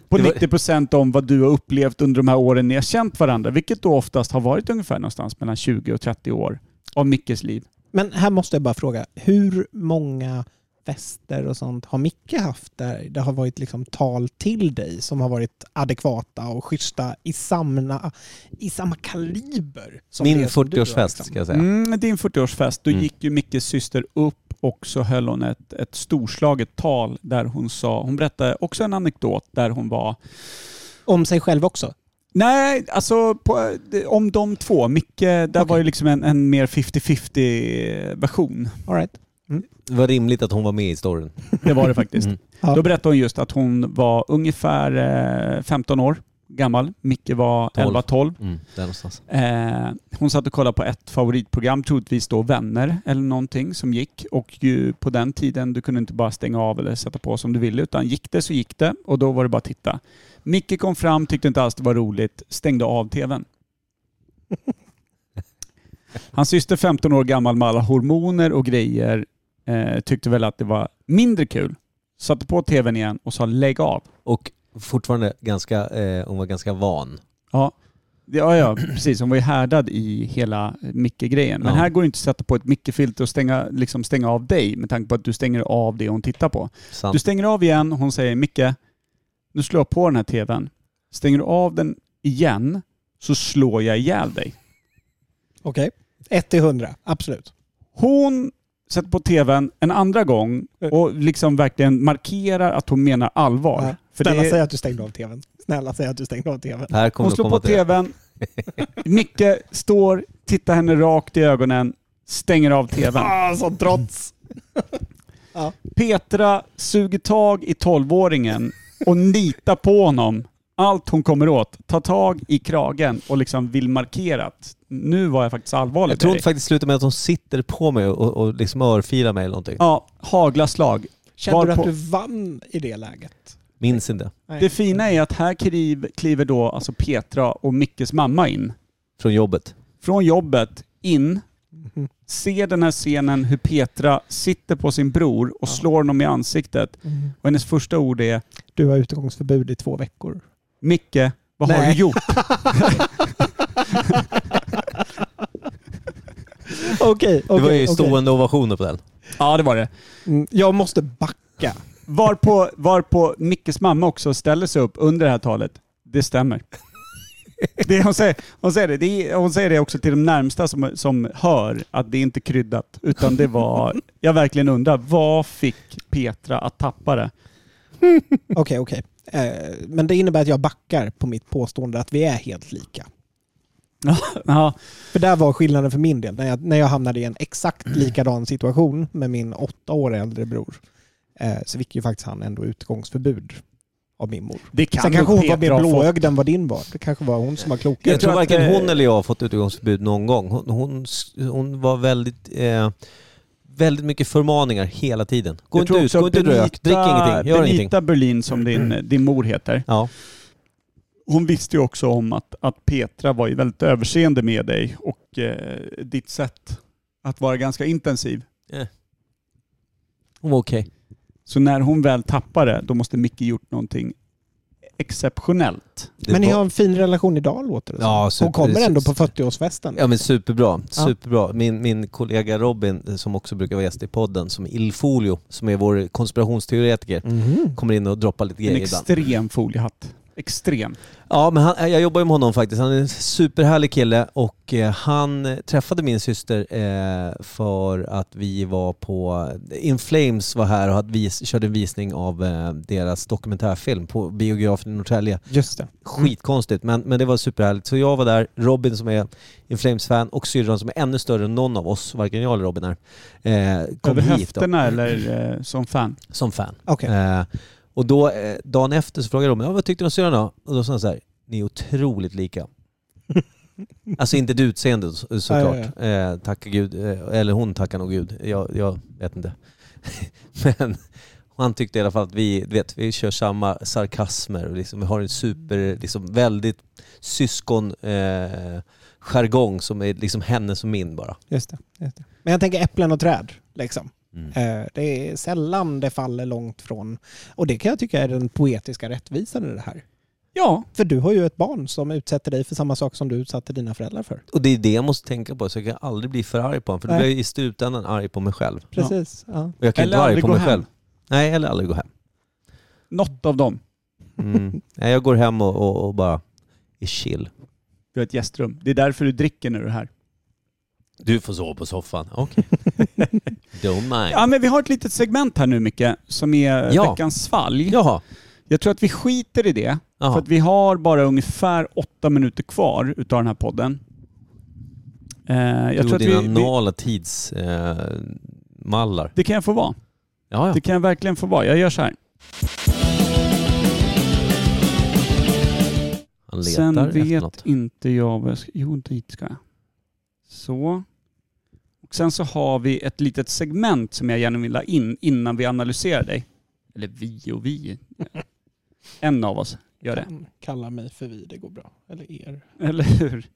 På
Det var-
90 procent om vad du har upplevt under de här åren ni har känt varandra. Vilket då oftast har varit ungefär någonstans mellan 20 och 30 år av Mickes liv.
Men här måste jag bara fråga, hur många fester och sånt har Micke haft där det har varit liksom tal till dig som har varit adekvata och schyssta i samma, i samma kaliber? Som
Min
det som du har,
40-årsfest
liksom?
ska jag säga.
Mm, din 40-årsfest, då
Mm.
gick ju Mickes syster upp och så höll hon ett, ett storslaget tal där hon sa, hon berättade också en anekdot där hon var,
Om sig själv också?
nej alltså på, om de två, Micke, där var ju liksom en, en mer 50-50 version.
All right.
Det var rimligt att hon var med i storyn.
Det var det faktiskt.
Mm.
Ja.
Då berättade hon just att hon var ungefär eh, 15 år gammal, Micke var
Tolv.
11-12.
Mm, där någonstans.
Eh, hon satt och kollade på ett favoritprogram, troligtvis då Vänner eller någonting som gick. Och ju på den tiden, du kunde inte bara stänga av eller sätta på som du ville, utan gick det så gick det och då var det bara att titta. Micke kom fram, tyckte inte alls det var roligt, stängde av tvn. Hans syster, 15 år gammal med alla hormoner och grejer, eh, tyckte väl att det var mindre kul. Satte på tvn igen och sa lägg av.
Och fortfarande ganska, eh, hon var ganska van.
Ja. Ja, ja, precis. Hon var ju härdad i hela Micke-grejen. Men
Ja.
här går det inte att sätta på ett Micke-filter och stänga, liksom stänga av dig med tanke på att du stänger av det hon tittar på.
Sant.
Du stänger av igen, hon säger Micke, nu slår jag på den här tvn. Stänger du av den igen så slår jag ihjäl dig.
Okej. ett till hundra, absolut.
Hon sätter på tvn en andra gång
Eh.
och liksom verkligen markerar att hon menar allvar.
Ja.
För
Snälla
det är-
säg att du stängde av tvn. Snälla säg att du stängde av tvn.
Här kommer
Hon
du
slår på
komma till.
tvn. Micke står, tittar henne rakt i ögonen, stänger av tvn.
Ah, sånt trots!
Petra suger tag i tolvåringen och nitar på honom. Allt hon kommer åt. Tar tag i kragen och liksom vill markera att nu var jag faktiskt allvarlig
Jag tror
med
inte
dig.
faktiskt slutar med att hon sitter på mig och, och liksom örfilar mig eller någonting.
Ja, hagelslag.
Kände du
Varpå-
att du vann i det läget?
Minns inte.
Nej.
Det fina är att här kriv- kliver då alltså Petra och Mickes mamma in.
Från jobbet.
från jobbet in,
Mm-hmm.
ser den här scenen hur Petra sitter på sin bror och slår honom i ansiktet.
Mm.
Och hennes första ord är
Du har utegångsförbud i två veckor.
Micke, vad har
Nej.
du gjort?
Okej, okej.
Det var ju
okej.
stående ovationer på den.
ja, det var det.
Mm, Jag måste backa.
Varpå, varpå Mickes mamma också ställer sig upp under det här talet. Det stämmer. Det hon, säger, hon, säger det, det, är- hon säger det också till de närmsta som, som hör att det inte är kryddat. Utan det var... Jag verkligen undrar, vad fick Petra att tappa det?
Okej, okej. Eh, Men det innebär att jag backar på mitt påstående att vi är helt lika.
Ja,
För där var skillnaden för min del, när jag, när jag hamnade i en exakt likadan situation med min åtta år äldre bror. Eh, så fick ju faktiskt han ändå utgångsförbud av min mor.
Det kan
Sen
nog
kanske hon var
Petra
mer
ha fått.
blåögd än vad din var. Det kanske var hon som var klokare.
Jag tror
tror att,
varken
eh,
hon eller jag har fått utegångsförbud någon gång. Hon, hon, s- hon var väldigt, eh, väldigt mycket förmaningar hela tiden. Gå
Jag
inte
tror
ut,
också
gå inte
Benita-
rök, drick ingenting, gör ingenting. Mm.
Benita Berlin som din, din mor heter.
Ja,
Hon visste ju också om att, att Petra var ju väldigt överseende med dig och eh, ditt sätt att vara ganska intensiv.
hon var okej.
Så när hon väl tappar det, då måste Micke gjort någonting exceptionellt.
Det
Men ni
var-
har en fin relation idag låter det som.
Ja, super-
Hon kommer ändå
super-
på 40-årsfesten.
Ja men superbra.
Ja.
superbra. Min, min kollega Robin eh, som också brukar vara gäst i podden, som är Ilfolio, som är vår konspirationsteoretiker,
Mhm.
kommer in och droppar lite
En
grejer ibland.
extrem foliehatt. Extrem.
Ja men han, eh, jag jobbar ju med honom faktiskt. Han är en superhärlig kille och eh, han eh, träffade min syster eh, för att vi var på, eh, In Flames var här och hade vis, körde en visning av eh, deras dokumentärfilm på biografen i Norrtälje.
Mm.
Just det.
Skitkonstigt, men, men det var superhärligt. Så jag var där, Robin som är Inflames-fan och syrran som är ännu större än någon av oss, varken jag eller Robin är, eh, kom
Över
hit då,
höfterna eller eh, som fan.
som fan.
Okej.
Eh, och då, eh, dagen efter så frågade Robin, ja, vad tyckte du om syrran då? Och då sa han så här, ni är otroligt lika. alltså inte det utseendet så, såklart.
Ja,
Eh, tacka gud, eh, eller hon tackar nog gud. Jag, jag vet inte. men han tyckte i alla fall att vi, du vet, vi kör samma sarkasmer och liksom, vi har en super, liksom, väldigt syskon eh, jargong som är liksom hennes och min bara.
Just det, just det. Men jag tänker äpplen och träd. Liksom.
Mm.
Eh, Det är sällan det faller långt från... Och det kan jag tycka är den poetiska rättvisan i det här.
Ja,
För du har ju ett barn som utsätter dig för samma sak som du utsatte dina föräldrar för.
Och det är det jag måste tänka på, så jag kan aldrig bli för arg på honom för då
Nej.
blir jag i slutändan arg på mig själv.
Precis. Ja.
Och jag kan
Eller
inte vara arg
aldrig
på
gå
mig
hem.
själv. Nej, eller aldrig gå hem.
något av dem.
Mm. Nej, jag går hem och, och, och bara är chill.
Vi har ett gästrum. Det är därför du dricker när du är här.
Du får sova på soffan. Okej. Don't mind.
Ja, men vi har ett litet segment här nu Micke, som är
Ja.
veckans svalg.
Jaha.
Jag tror att vi skiter i det, för
Jaha.
att vi har bara ungefär åtta minuter kvar utav den här podden. Eh, jag
du
tror
och
att
dina
vi, vi,
anala tidsmallar.
det kan jag få vara.
ja, ja.
Det kan jag verkligen få vara. Jag gör så här.
Han letar
Sen
efter
vet
något.
inte jag vad jag ska... Jo, inte hit ska jag. Så. Och sen så har vi ett litet segment som jag gärna vill ha in innan vi analyserar dig. Eller vi och vi. En av oss gör det.
Kan Kalla Mm, mig för vi, det går bra. Eller er.
Eller hur?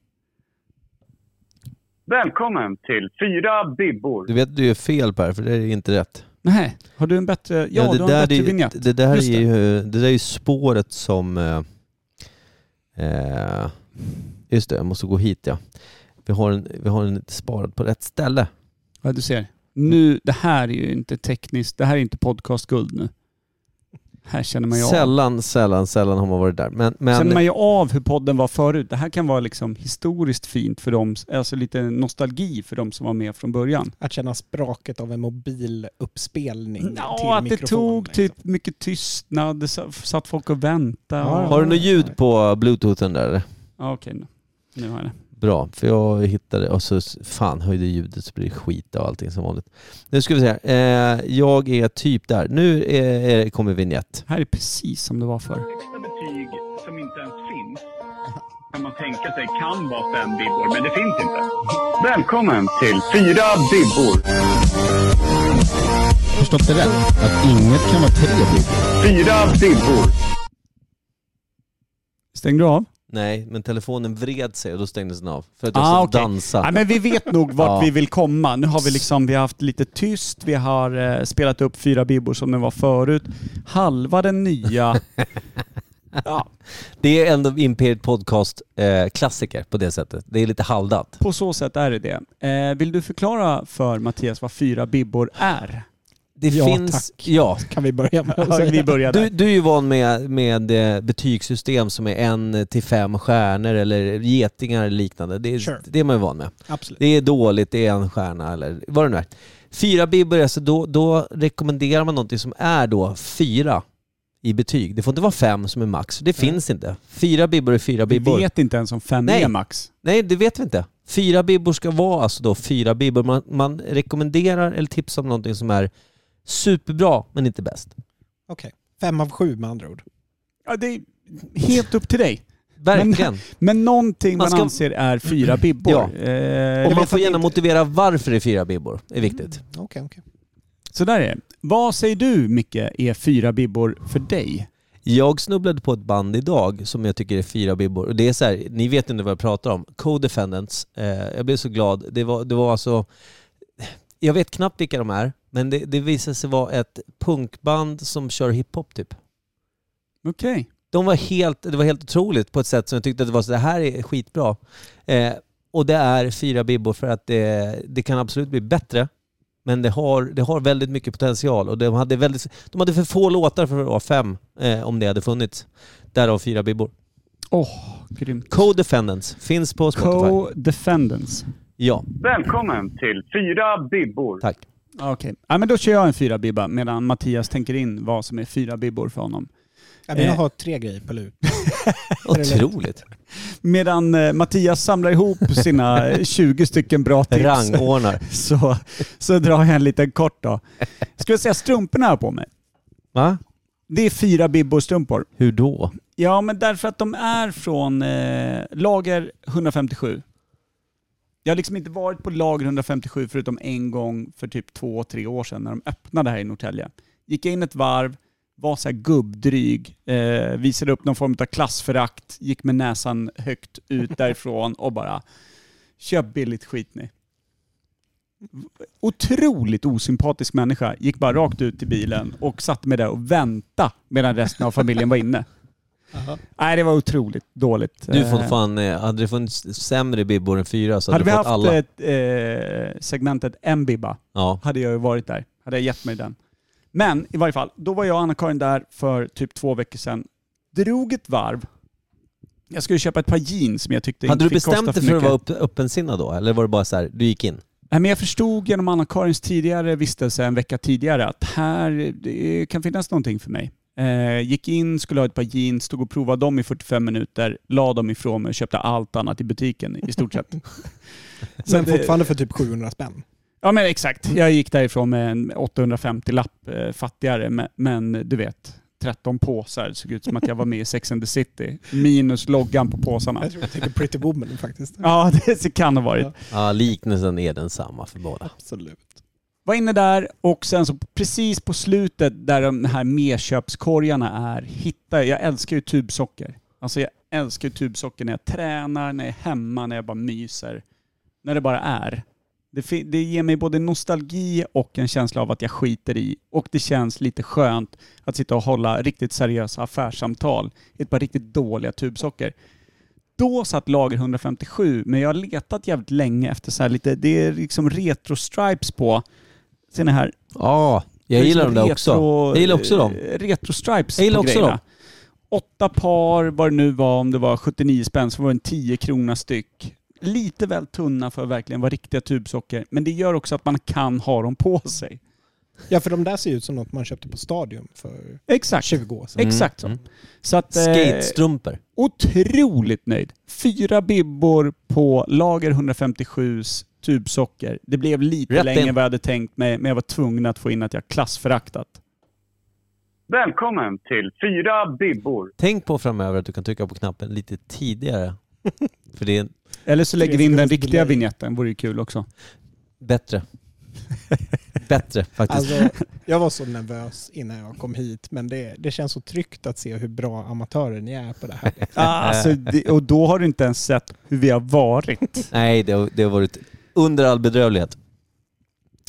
Välkommen till Fyra Bibbor.
Du vet du är fel Per, för det är inte rätt.
Nej, har du en bättre... Ja,
det,
du har en
är
bättre
ju-
vignett.
det där är
Just det.
ju det där är ju spåret som... eh, Eh, just det, jag måste gå hit ja. Vi har en, vi har en sparad på rätt ställe.
Ja, du ser. Nu, det här är ju inte tekniskt. Det här är inte podcastguld nu. Här känner man ju av.
Sällan, sällan, sällan har man varit där. Men,
Känner
men
man ju av hur podden var förut. Det här kan vara liksom historiskt fint för dem, alltså lite nostalgi för de som var med från början.
Att känna spraket av en mobiluppspelning till
Ja, att det
mikrofon,
tog
liksom.
typ mycket tystnad, det sa- satt folk och väntade.
Ja.
och...
har du något ljud på bluetoothen där eller?
ja okej. nu. Nu har jag det.
Bra, för jag hittade och så fan höjde ljudet så blir det skit av allting som vanligt. Nu ska vi se här. Eh, jag är typ där. Nu är, är, kommer vignett.
Här är precis som det var förr.
Extra betyg som inte ens finns kan man tänka sig kan vara fem bibbor, men det finns inte. Välkommen till Fyra Bibbor.
förstått det rätt? Att inget kan vara tre bitar.
Fyra Bibbor.
Stängde du av?
Nej, men telefonen vred sig och då stängdes den av. För att jag
Ah,
ah,
okej.
dansa.
Nej, men vi vet nog vart
Ja.
vi vill komma. Nu har vi liksom, vi har haft lite tyst, vi har eh, spelat upp fyra bibbor som det var förut. Halva den nya... ja,
Det är ändå Imperiet Podcast eh, klassiker på det sättet. Det är lite halvdant.
På så sätt är det det. Eh, vill du förklara för Mattias vad fyra bibbor är?
Det
Ja,
finns...
tack.
Ja,
liksom. Kan vi börja med att
Ja,
säga.
Vi börjar
Du,
där.
du är ju van med, med eh, betygssystem som är en till fem stjärnor eller getingar eller liknande. Det är,
Sure.
det är man ju van med.
Absolut.
Det är dåligt, det är en stjärna eller vad det nu är. Fyra bibbor, alltså då, då rekommenderar man någonting som är då fyra i betyg. Det får inte vara fem som är max. Det finns inte. Fyra bibbor är fyra
Vi
bibbor.
vet inte ens om fem
Nej.
är max.
Nej, det vet vi inte. Fyra bibbor ska vara alltså då fyra bibbor. Man, man rekommenderar eller tipsar om någonting som är Superbra, men inte bäst.
Okej. Fem av sju med andra ord.
Ja, det är helt upp till dig.
Verkligen.
Men någonting man,
Man ska-
anser är fyra bibbor.
Ja.
Eh,
Och
jag
man
vet
får
att
gärna
inte-
motivera varför det är fyra bibbor. Det är viktigt.
typ.
Mm, Okej, okej.
Så där är det. Vad säger du Micke är fyra bibbor för dig?
Jag snubblade på ett band idag som jag tycker är fyra bibbor. Och det är så här, ni vet inte vad jag pratar om. Co-defendants. Eh, jag blev så glad. Det var, det var alltså... Jag vet knappt vilka de är, men det, det visade sig vara ett punkband som kör hiphop typ.
Okej.
De var helt, det var helt otroligt på ett sätt som jag tyckte att det var så det här är skitbra. Eh, och det är fyra bibbor för att det, det kan absolut bli bättre. Men det har, det har väldigt mycket potential och de hade, väldigt, de hade för få låtar för att vara fem eh, om det hade funnits. Därav fyra bibbor.
Åh, grymt.
Co-defendants finns på Spotify.
Co-defendants.
ja,
Välkommen till Fyra Bibbor.
tack.
Okej. Ja, men då kör jag en fyra bibba medan Mattias tänker in vad som är fyra bibbor för honom.
Ja, men Jag
Eh.
har tre grejer på lut.
Otroligt.
Medan eh, Mattias samlar ihop sina eh, 20 stycken bra tips
Rangordnar.
så, så drar jag en liten kort då. Skulle jag säga strumporna jag har på mig.
Va?
Det är fyra bibbor strumpor.
Hur då?
Ja, men därför att de är från eh, lager 157. Jag har liksom inte varit på lager 157 förutom en gång för typ två, tre år sedan när de öppnade här i Norrtälje. Gick jag in ett varv, var så här gubbdryg, eh, visade upp någon form av klassförakt, gick med näsan högt ut därifrån och bara köp billigt skit ni. Otroligt osympatisk människa. Gick bara rakt ut till bilen och satte mig där och väntade medan resten av familjen var inne. Nej, det var otroligt dåligt.
Du får
Eh,
fan, eh, hade det funnits sämre bibbor än fyra så
hade vi
hade, du fått
haft
alla.
ett, eh, segmentet en bibba
Ja.
hade jag ju varit där. Hade jag gett mig den. Men i varje fall, då var jag och Anna-Karin där för typ två veckor sedan. Drog ett varv. Jag skulle köpa ett par jeans som jag tyckte
Hade du
inte fick kosta
bestämt dig för att vara upp, öppensinnad då? Eller var det bara så här, du gick in?
Nej, men jag förstod genom Anna-Karins tidigare vistelse en vecka tidigare att här det kan finnas någonting för mig. Eh, gick in, skulle ha ett par jeans, stod och provade dem i 45 minuter, la dem ifrån mig och köpte allt annat i butiken i stort sett. Så
Men
att det-
fortfarande för typ 700 spänn.
Ja men exakt. Jag gick därifrån med en 850-lapp eh, fattigare, men, men du vet, 13 påsar. Det såg ut som att jag var med i Sex and the City. Minus loggan på påsarna.
Jag tror jag tänker Pretty Woman faktiskt.
Ja, det kan ha varit.
Ja.
Ja, liknelsen är densamma för båda.
Absolut.
Var inne där och sen så precis på slutet där de här medköpskorgarna är, hittade jag, jag älskar ju tubsocker. Alltså jag älskar ju tubsocker när jag tränar, när jag är hemma, när jag bara myser. När det bara är. Det, fi- det ger mig både nostalgi och en känsla av att jag skiter i. Och det känns lite skönt att sitta och hålla riktigt seriösa affärssamtal i ett par riktigt dåliga tubsocker. Då satt lager 157, men jag har letat jävligt länge efter så här lite, det är liksom retro-stripes på. Ser ni här?
Ja, jag
Det är
gillar
liksom
dem där också.
retro-
Jag gillar också dem.
eh, Retro-stripes
Jag gillar också
grejerna.
dem.
Åtta par, vad det nu var, om det var 79 spänn, så var det en 10 krona styck. Lite väl tunna för att verkligen vara riktiga tubsocker, men det gör också att man kan ha dem på sig.
Ja, för de där ser ju ut som något man köpte på Stadium för
Exakt.
20 år sedan.
Mm,
Exakt så.
mm.
Så att, eh,
Skatestrumpor.
otroligt nöjd. Fyra bibbor på lager 157s tubsocker. Det blev lite
Rätt
längre
in.
än vad jag hade tänkt mig, men jag var tvungen att få in att jag klassföraktat.
Välkommen till Fyra Bibbor.
Tänk på framöver att du kan trycka på knappen lite tidigare. För det är
Eller så lägger vi in den
sekunders
riktiga
delay.
vignetten, vore ju kul också.
bättre. Bättre faktiskt.
Alltså, jag var så nervös innan jag kom hit, men det, det känns så tryggt att se hur bra amatörer ni är på det här.
alltså, det, och då har du inte ens sett hur vi har varit.
Nej, det har, det har varit under all bedrövlighet.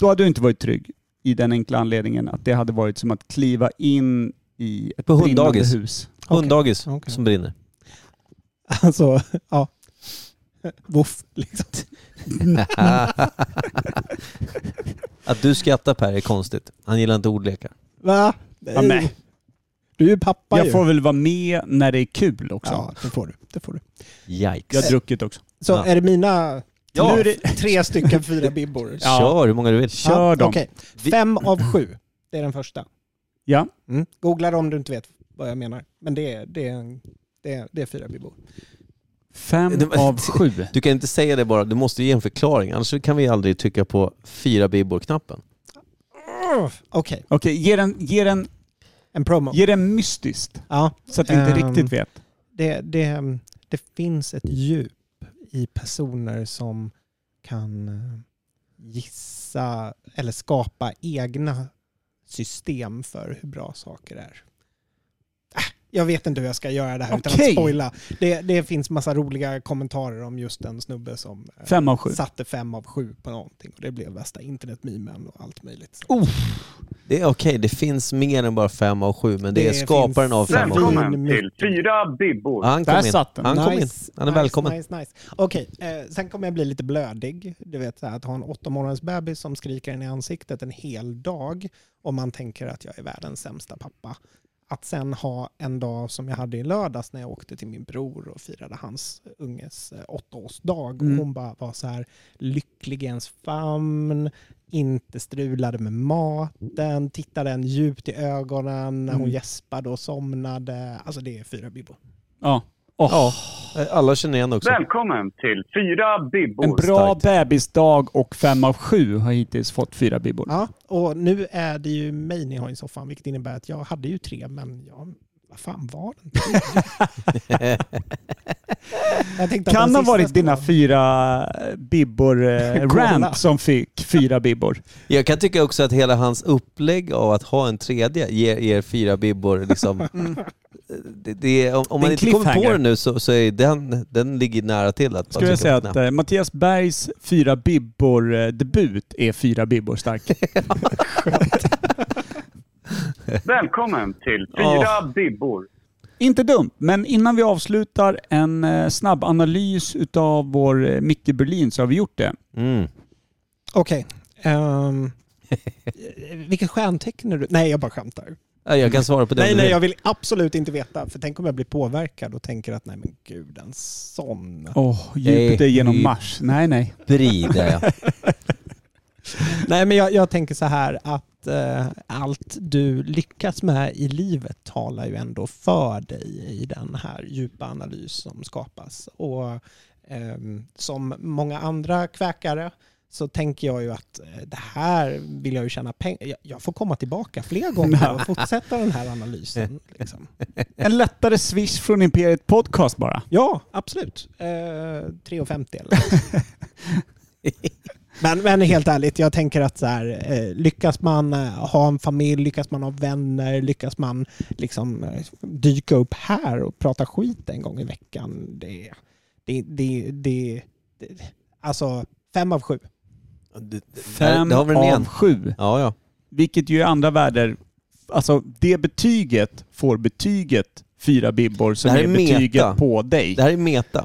Då hade du inte varit trygg. I den enkla anledningen att det hade varit som att kliva in i ett
På
brinnande
hunddagis.
hus.
Hunddagis
Okej.
som brinner.
Alltså, ja. Voff, liksom.
att du skrattar Per är konstigt. Han gillar inte ordlekar.
Va?
Ja, men.
Du är ju pappa
Jag
ju.
får väl vara med när det är kul också.
Ja, det får du. Det får du.
Jag har
Yikes.
druckit också.
Så
Ja.
är det mina
Ja.
nu är det tre stycken fyra bibbor?
Ja.
Kör hur många du vill.
Kör
Ja,
dem.
okej. Fem av sju. Det är den första.
Ja.
Mm. Googla det om du inte vet vad jag menar. Men det är, det är, en- det är, det är fyra bibbor.
Fem
Det var-
av sju.
Du kan inte säga det bara, du måste ge en förklaring. Annars kan vi aldrig trycka på fyra bibbor-knappen.
Mm.
Okej,
Okej, ge den, ge den,
en promo.
ge den mystiskt.
Ja,
Så att vi inte
Ehm,
riktigt vet.
det, det, det finns ett djup i personer som kan eh, gissa eller skapa egna system för hur bra saker är. Äh, Jag vet inte hur jag ska göra det här utan
Okej.
att spoila. Det, det finns massa roliga kommentarer om just en snubbe som eh,
Fem av sju.
satte fem av sju på någonting och det blev värsta internetmimen och allt möjligt. Så
Det är okej, det finns mer än bara fem av sju, men det,
Det
är skaparen
finns-
av fem av sju.
Välkommen till Fyra bibbor.
Ja, Han kom
Där
in.
satt den.
Han kom in.
Nice,
Han är
nice,
välkommen.
Nice, nice. Okej, eh, sen kommer jag bli lite blödig. Du vet, så här, att ha en åtta månaders bebis som skriker en i ansiktet en hel dag och man tänker att jag är världens sämsta pappa. Att sen ha en dag som jag hade i lördags när jag åkte till min bror och firade hans unges eh, åttaårsdag
Mm.
och hon bara var så här lycklig i ens famn, inte strulade med maten, tittade en djupt i ögonen när hon
Mm.
gäspade och somnade. Alltså det är fyra bibbor.
Ja. Åh,
Ja, alla känner igen också.
Välkommen till Fyra bibbor.
en bra bebisdag och fem av sju har hittills fått fyra bibbor.
Ja, och nu är det ju mig ni har i soffan, vilket innebär att jag hade ju tre, men jag, vad fan var den? Jag tänkte att
Kan
den
ha
sista
varit
skulle
dina
vara-
fyra eh, bibbor-rant som fick fyra bibbor.
Jag kan tycka också att hela hans upplägg av att ha en tredje ger er fyra bibbor liksom. Det, det, är- om, om
Det är
man
en
inte kommer på
cliffhanger.
den nu så, så är den, den ligger nära till att bara
Skulle jag
trycka
säga
på
att
knapp.
eh, Mattias Bergs fyra bibbor-debut är fyra bibbor stark.
Välkommen till Fyra bibbor.
Inte dumt, men innan vi avslutar en eh, snabb analys utav vår eh, Micke Berlin så har vi gjort det.
mm.
Okej. ehm, vilket stjärntecken är du? Nej, jag bara skämtar.
Ja, Jag kan svara på den
Nej,
du
nej,
vill.
jag vill absolut inte veta. För tänk om jag blir påverkad och tänker att nej men gud, en sån.
Åh, Jupiter
Nej.
genom Mars. Nej, nej.
Brida ja.
Nej, men jag, jag tänker så här att eh, allt du lyckas med i livet talar ju ändå för dig i den här djupa analys som skapas. Och ehm, som många andra kväkare så tänker jag ju att eh, det här vill jag ju tjäna pengar. Jag, jag får komma tillbaka fler gånger och fortsätta den här analysen. Liksom.
En lättare swish från Imperiet Podcast bara.
Ja, absolut. Eh, 3,50 eller något. men, men helt ärligt, jag tänker att så här, eh, lyckas man eh, ha en familj, lyckas man ha vänner, lyckas man liksom, eh, dyka upp här och prata skit en gång i veckan. Det, det, det, det, det Alltså, fem av sju.
Fem
där har vi den
av
igen.
sju.
Ja, ja.
Vilket ju i andra världar, alltså det betyget får betyget fyra bibbor som
Det här
är
är meta.
betyget på dig.
Det här är meta.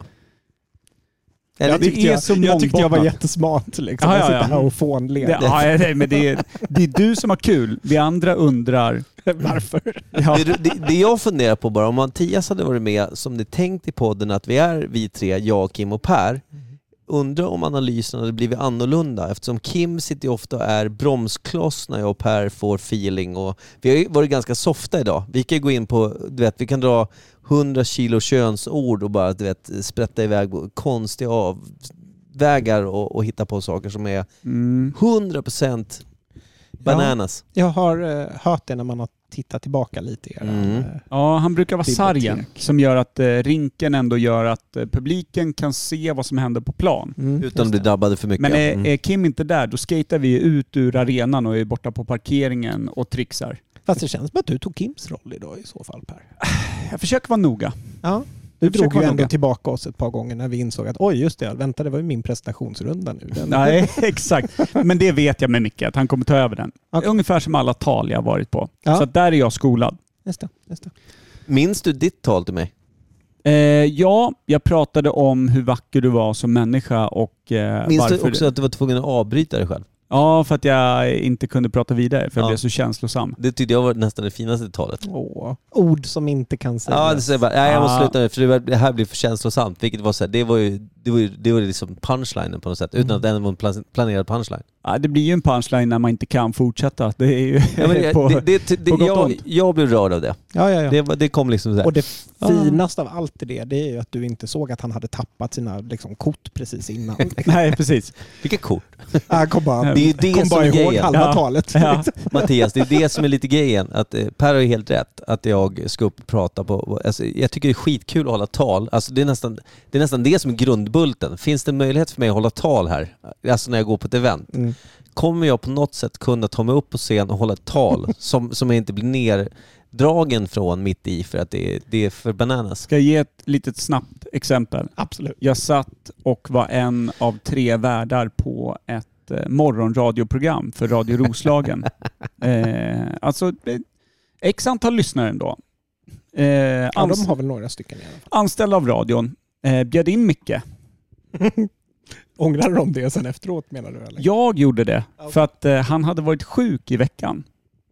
Eller,
Ja, det är så
jag tyckte jag var
mångbottnat.
jättesmart. Liksom.
Ja,
jag
ja,
sitter
ja.
här och fånler.
Det, ja, nej, men det, är, det är du som har kul, vi andra undrar.
Varför?
Ja,
Det, det, det jag funderar på bara, om Mattias hade varit med som det är tänkt i podden att vi är vi tre, jag, Kim och Per.
Mm-hmm.
Undrar om analysen hade blivit annorlunda eftersom Kim sitter ju ofta och är bromskloss när jag och Per får feeling och vi har ju varit ganska softa idag. Vi kan ju gå in på, du vet, vi kan dra 100 kilo könsord och bara du vet, sprätta iväg på konstiga avvägar och, och hitta på saker som är
mm.
100% bananas.
Jag har eh, hört det när man har tittat tillbaka lite i era
Mm.
eh,
ja han brukar vara
Bibliotek.
sargen som gör att eh, rinken ändå gör att eh, publiken kan se vad som händer på plan.
Mm.
Utan att bli drabbade för mycket.
Men
Mm.
är, är Kim inte där, då skater vi ut ur arenan och är borta på parkeringen och trixar.
Fast det känns som att du tog Kims roll idag i så fall Per.
Jag försöker vara noga.
Ja. Du
Jag försöker
drog ju
vara
ändå
noga.
tillbaka oss ett par gånger när vi insåg att oj just det, vänta det var ju min prestationsrunda nu. Den-
Nej, exakt. Men det vet jag med Micke, att han kommer ta över den.
Okej.
Ungefär som alla tal jag har varit på.
Ja.
Så att där är jag skolad.
Just det, just det.
Minns du ditt tal till mig?
Eh, ja, jag pratade om hur vacker du var som människa och eh,
Minns
varför...
du också att du var tvungen att avbryta dig själv?
Ja, för att jag inte kunde prata vidare för jag
Ja.
blev så känslosam.
Det tyckte jag var nästan det finaste talet.
Åh. Ord som inte kan sägas.
Ja, det säger bara, nej jag måste
Ah.
sluta nu för det var- det här blir för känslosamt. Vilket var så här, det var ju, det var ju det var ju liksom punchlinen på något sätt, utan att det var en plan- planerad punchline.
Ja, det blir ju en punchline när man inte kan fortsätta. Det är ju
Ja, men det,
på...
det, det, det,
på gott och
jag,
ont.
jag blev rörd av det.
Ja, ja, ja.
Det, var- det kom liksom så här.
Och det finaste av allt i det, det är ju att du inte såg att han hade tappat sina liksom, kort precis innan.
Nej, precis.
Vilka kort?
Han kom bara,
Det är ju det
kom
som
bara
är
ihåg
grejen.
halva
Ja.
talet.
Ja.
Mattias, det är det som är lite grejen. Att eh, Per har ju helt rätt att jag ska upp och prata på... Alltså, jag tycker det är skitkul att hålla tal. Alltså, det, är nästan, det är nästan det som är grundbulten. Finns det en möjlighet för mig att hålla tal här? Alltså när jag går på ett event.
Mm.
Kommer jag på något sätt kunna ta mig upp på scen och hålla ett tal som, som jag inte blir nerdragen från mitt i för att det är, det är för bananas?
Ska jag ge ett litet snabbt exempel?
Absolut.
Jag satt och var en av tre värdar på ett eh, morgonradioprogram för Radio Roslagen. eh, alltså, eh, x antal lyssnare ändå. Eh,
Ja,
ans-
de har väl några stycken i alla fall.
anställd av radion. Eh, bjöd in Micke.
Ångrade de det sen efteråt menar du? Eller?
Jag gjorde det
Okej.
för att eh, han hade varit sjuk i veckan.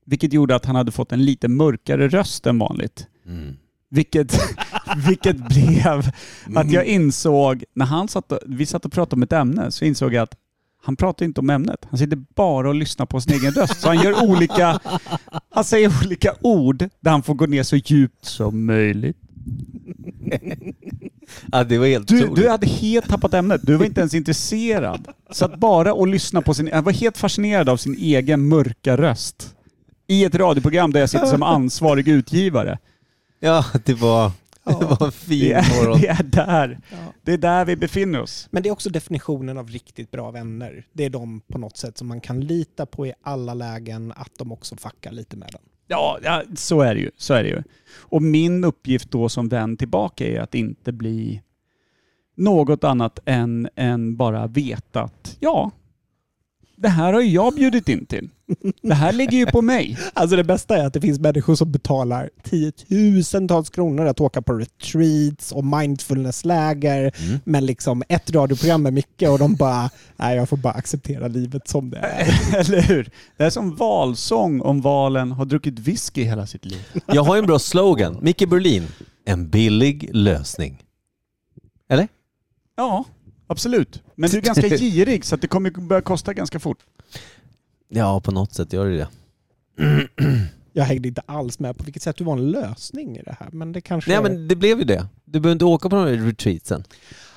Vilket gjorde att han hade fått en lite mörkare röst än vanligt. Vilket, vilket blev att jag insåg, när han satt och, vi satt och pratade om ett ämne, så insåg jag att han pratar inte om ämnet. Han sitter bara och lyssnar på sin egen röst. Så han gör olika, han säger olika ord där han får gå ner så djupt som möjligt.
Ja, det var helt
Du,
otroligt.
du hade helt tappat ämnet. Du var inte ens intresserad. Så att bara och lyssna på sin... Jag var helt fascinerad av sin egen mörka röst. I ett radioprogram där jag sitter som ansvarig utgivare.
Ja, det var, det var
Det
en fin
är,
morgon.
det är där.
Ja.
Det är där vi befinner oss.
Men det är också definitionen av riktigt bra vänner. Det är de på något sätt som man kan lita på i alla lägen, att de också fuckar lite med den.
Ja, ja så, är det ju. så är det ju. Och min uppgift då som vän tillbaka är att inte bli något annat än, än bara veta att ja, det här har ju jag bjudit in till. Det här ligger ju på mig.
Alltså det bästa är att det finns människor som betalar tiotusentals kronor att åka på retreats och mindfulnessläger,
Mm.
men liksom ett radioprogram med mycket och de bara, nej jag får bara acceptera livet som det är.
Eller hur? Det är som valsång om valen har druckit whisky hela sitt liv.
Jag har ju en bra slogan. Micke Berlin. En billig lösning. Eller?
Ja, absolut. Men du är ganska girig så att det kommer börja kosta ganska fort.
Ja, på något sätt gör det det.
Jag hängde inte alls med på vilket sätt du var en lösning i det här, men det kanske...
Nej, men det blev ju det. Du behöver inte åka på de här retreatsen.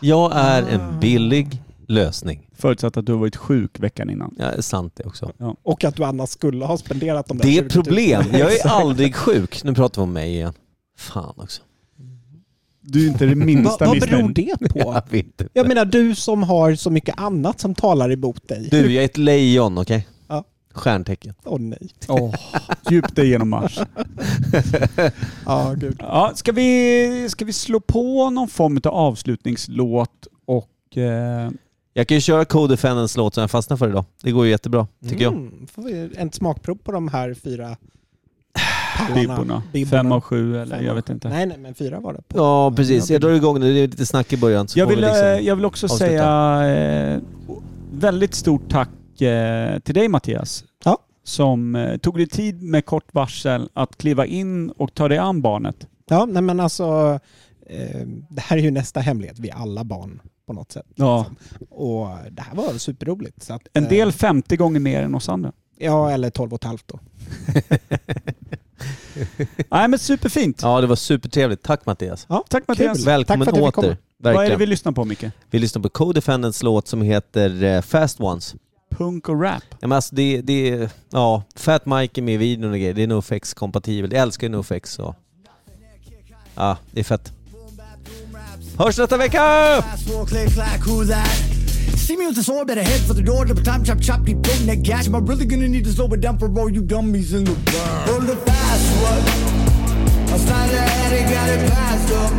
Jag är en billig lösning.
Förutsatt att du har varit sjuk veckan innan.
Ja, det är sant det också.
Och att du annars skulle ha spenderat de där
Det är
20
ett
000.
problem. Jag är aldrig sjuk. Nu pratar vi om mig igen. Fan också.
Du är inte det
Va,
minsta
vad beror
missnöjd.
det på?
Jag vet inte.
Jag menar du som har så mycket annat som talar emot dig.
Du, jag är ett lejon, okej?
Ja.
Stjärntecken.
Åh nej.
Åh, Djupt dig genom mars.
Ja, gud.
Ja, ska, vi, ska vi slå på någon form av avslutningslåt och... Eh,
Jag kan ju köra Codefendants låt som jag fastnade för idag. Det går ju jättebra, tycker jag.
Mm, får vi en smakprov på de här fyra pallarna.
bibborna. Fem av sju eller
Fem
jag
av
vet
sju.
inte.
Nej, nej, men fyra var det. På.
Ja, precis. Jag drar igång nu. Det är lite snack i början. Så
Jag
får vi
vill, eh,
liksom...
jag vill också
avsluta.
säga eh, väldigt stort tack eh, till dig Mattias.
Ja.
Som eh, tog dig tid med kort varsel att kliva in och ta dig an barnet.
Ja, nej men alltså. Eh, det här är ju nästa hemlighet. Vi är alla barn på något sätt.
Ja.
Och det här var superroligt. Så att,
En
eh,
del 50 gånger mer än oss andra.
Ja, eller 12 och ett halvt då.
Nej men superfint.
Ja, det var supertrevligt. Tack Mattias.
Ja,
Tack Mattias.
Kul.
Välkommen
Tack för att du fick
åter.
komma.
Vad är det
Verkligen.
vi
Vi...
lyssnar på Micke?
lyssnar på Codefendants låt som heter eh, Fast Ones.
Punk och rap.
Ja, men alltså det, det är, ja, Fat Mike är med i videon och grejer. Det är NoFX-kompatibelt. Jag älskar ju NoFX så... Ja, det är fett. Hörs nästa vecka!
click clack, who that? See me with the sword, better head for the door. Double time, chop, chop, deep in that gash. Am I really gonna need to slow it down for all you dummies in the bar? Roll the fast one. I started ahead and got it passed up.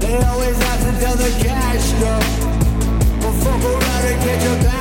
They always have to tell the cash up. But fuck around and get your back.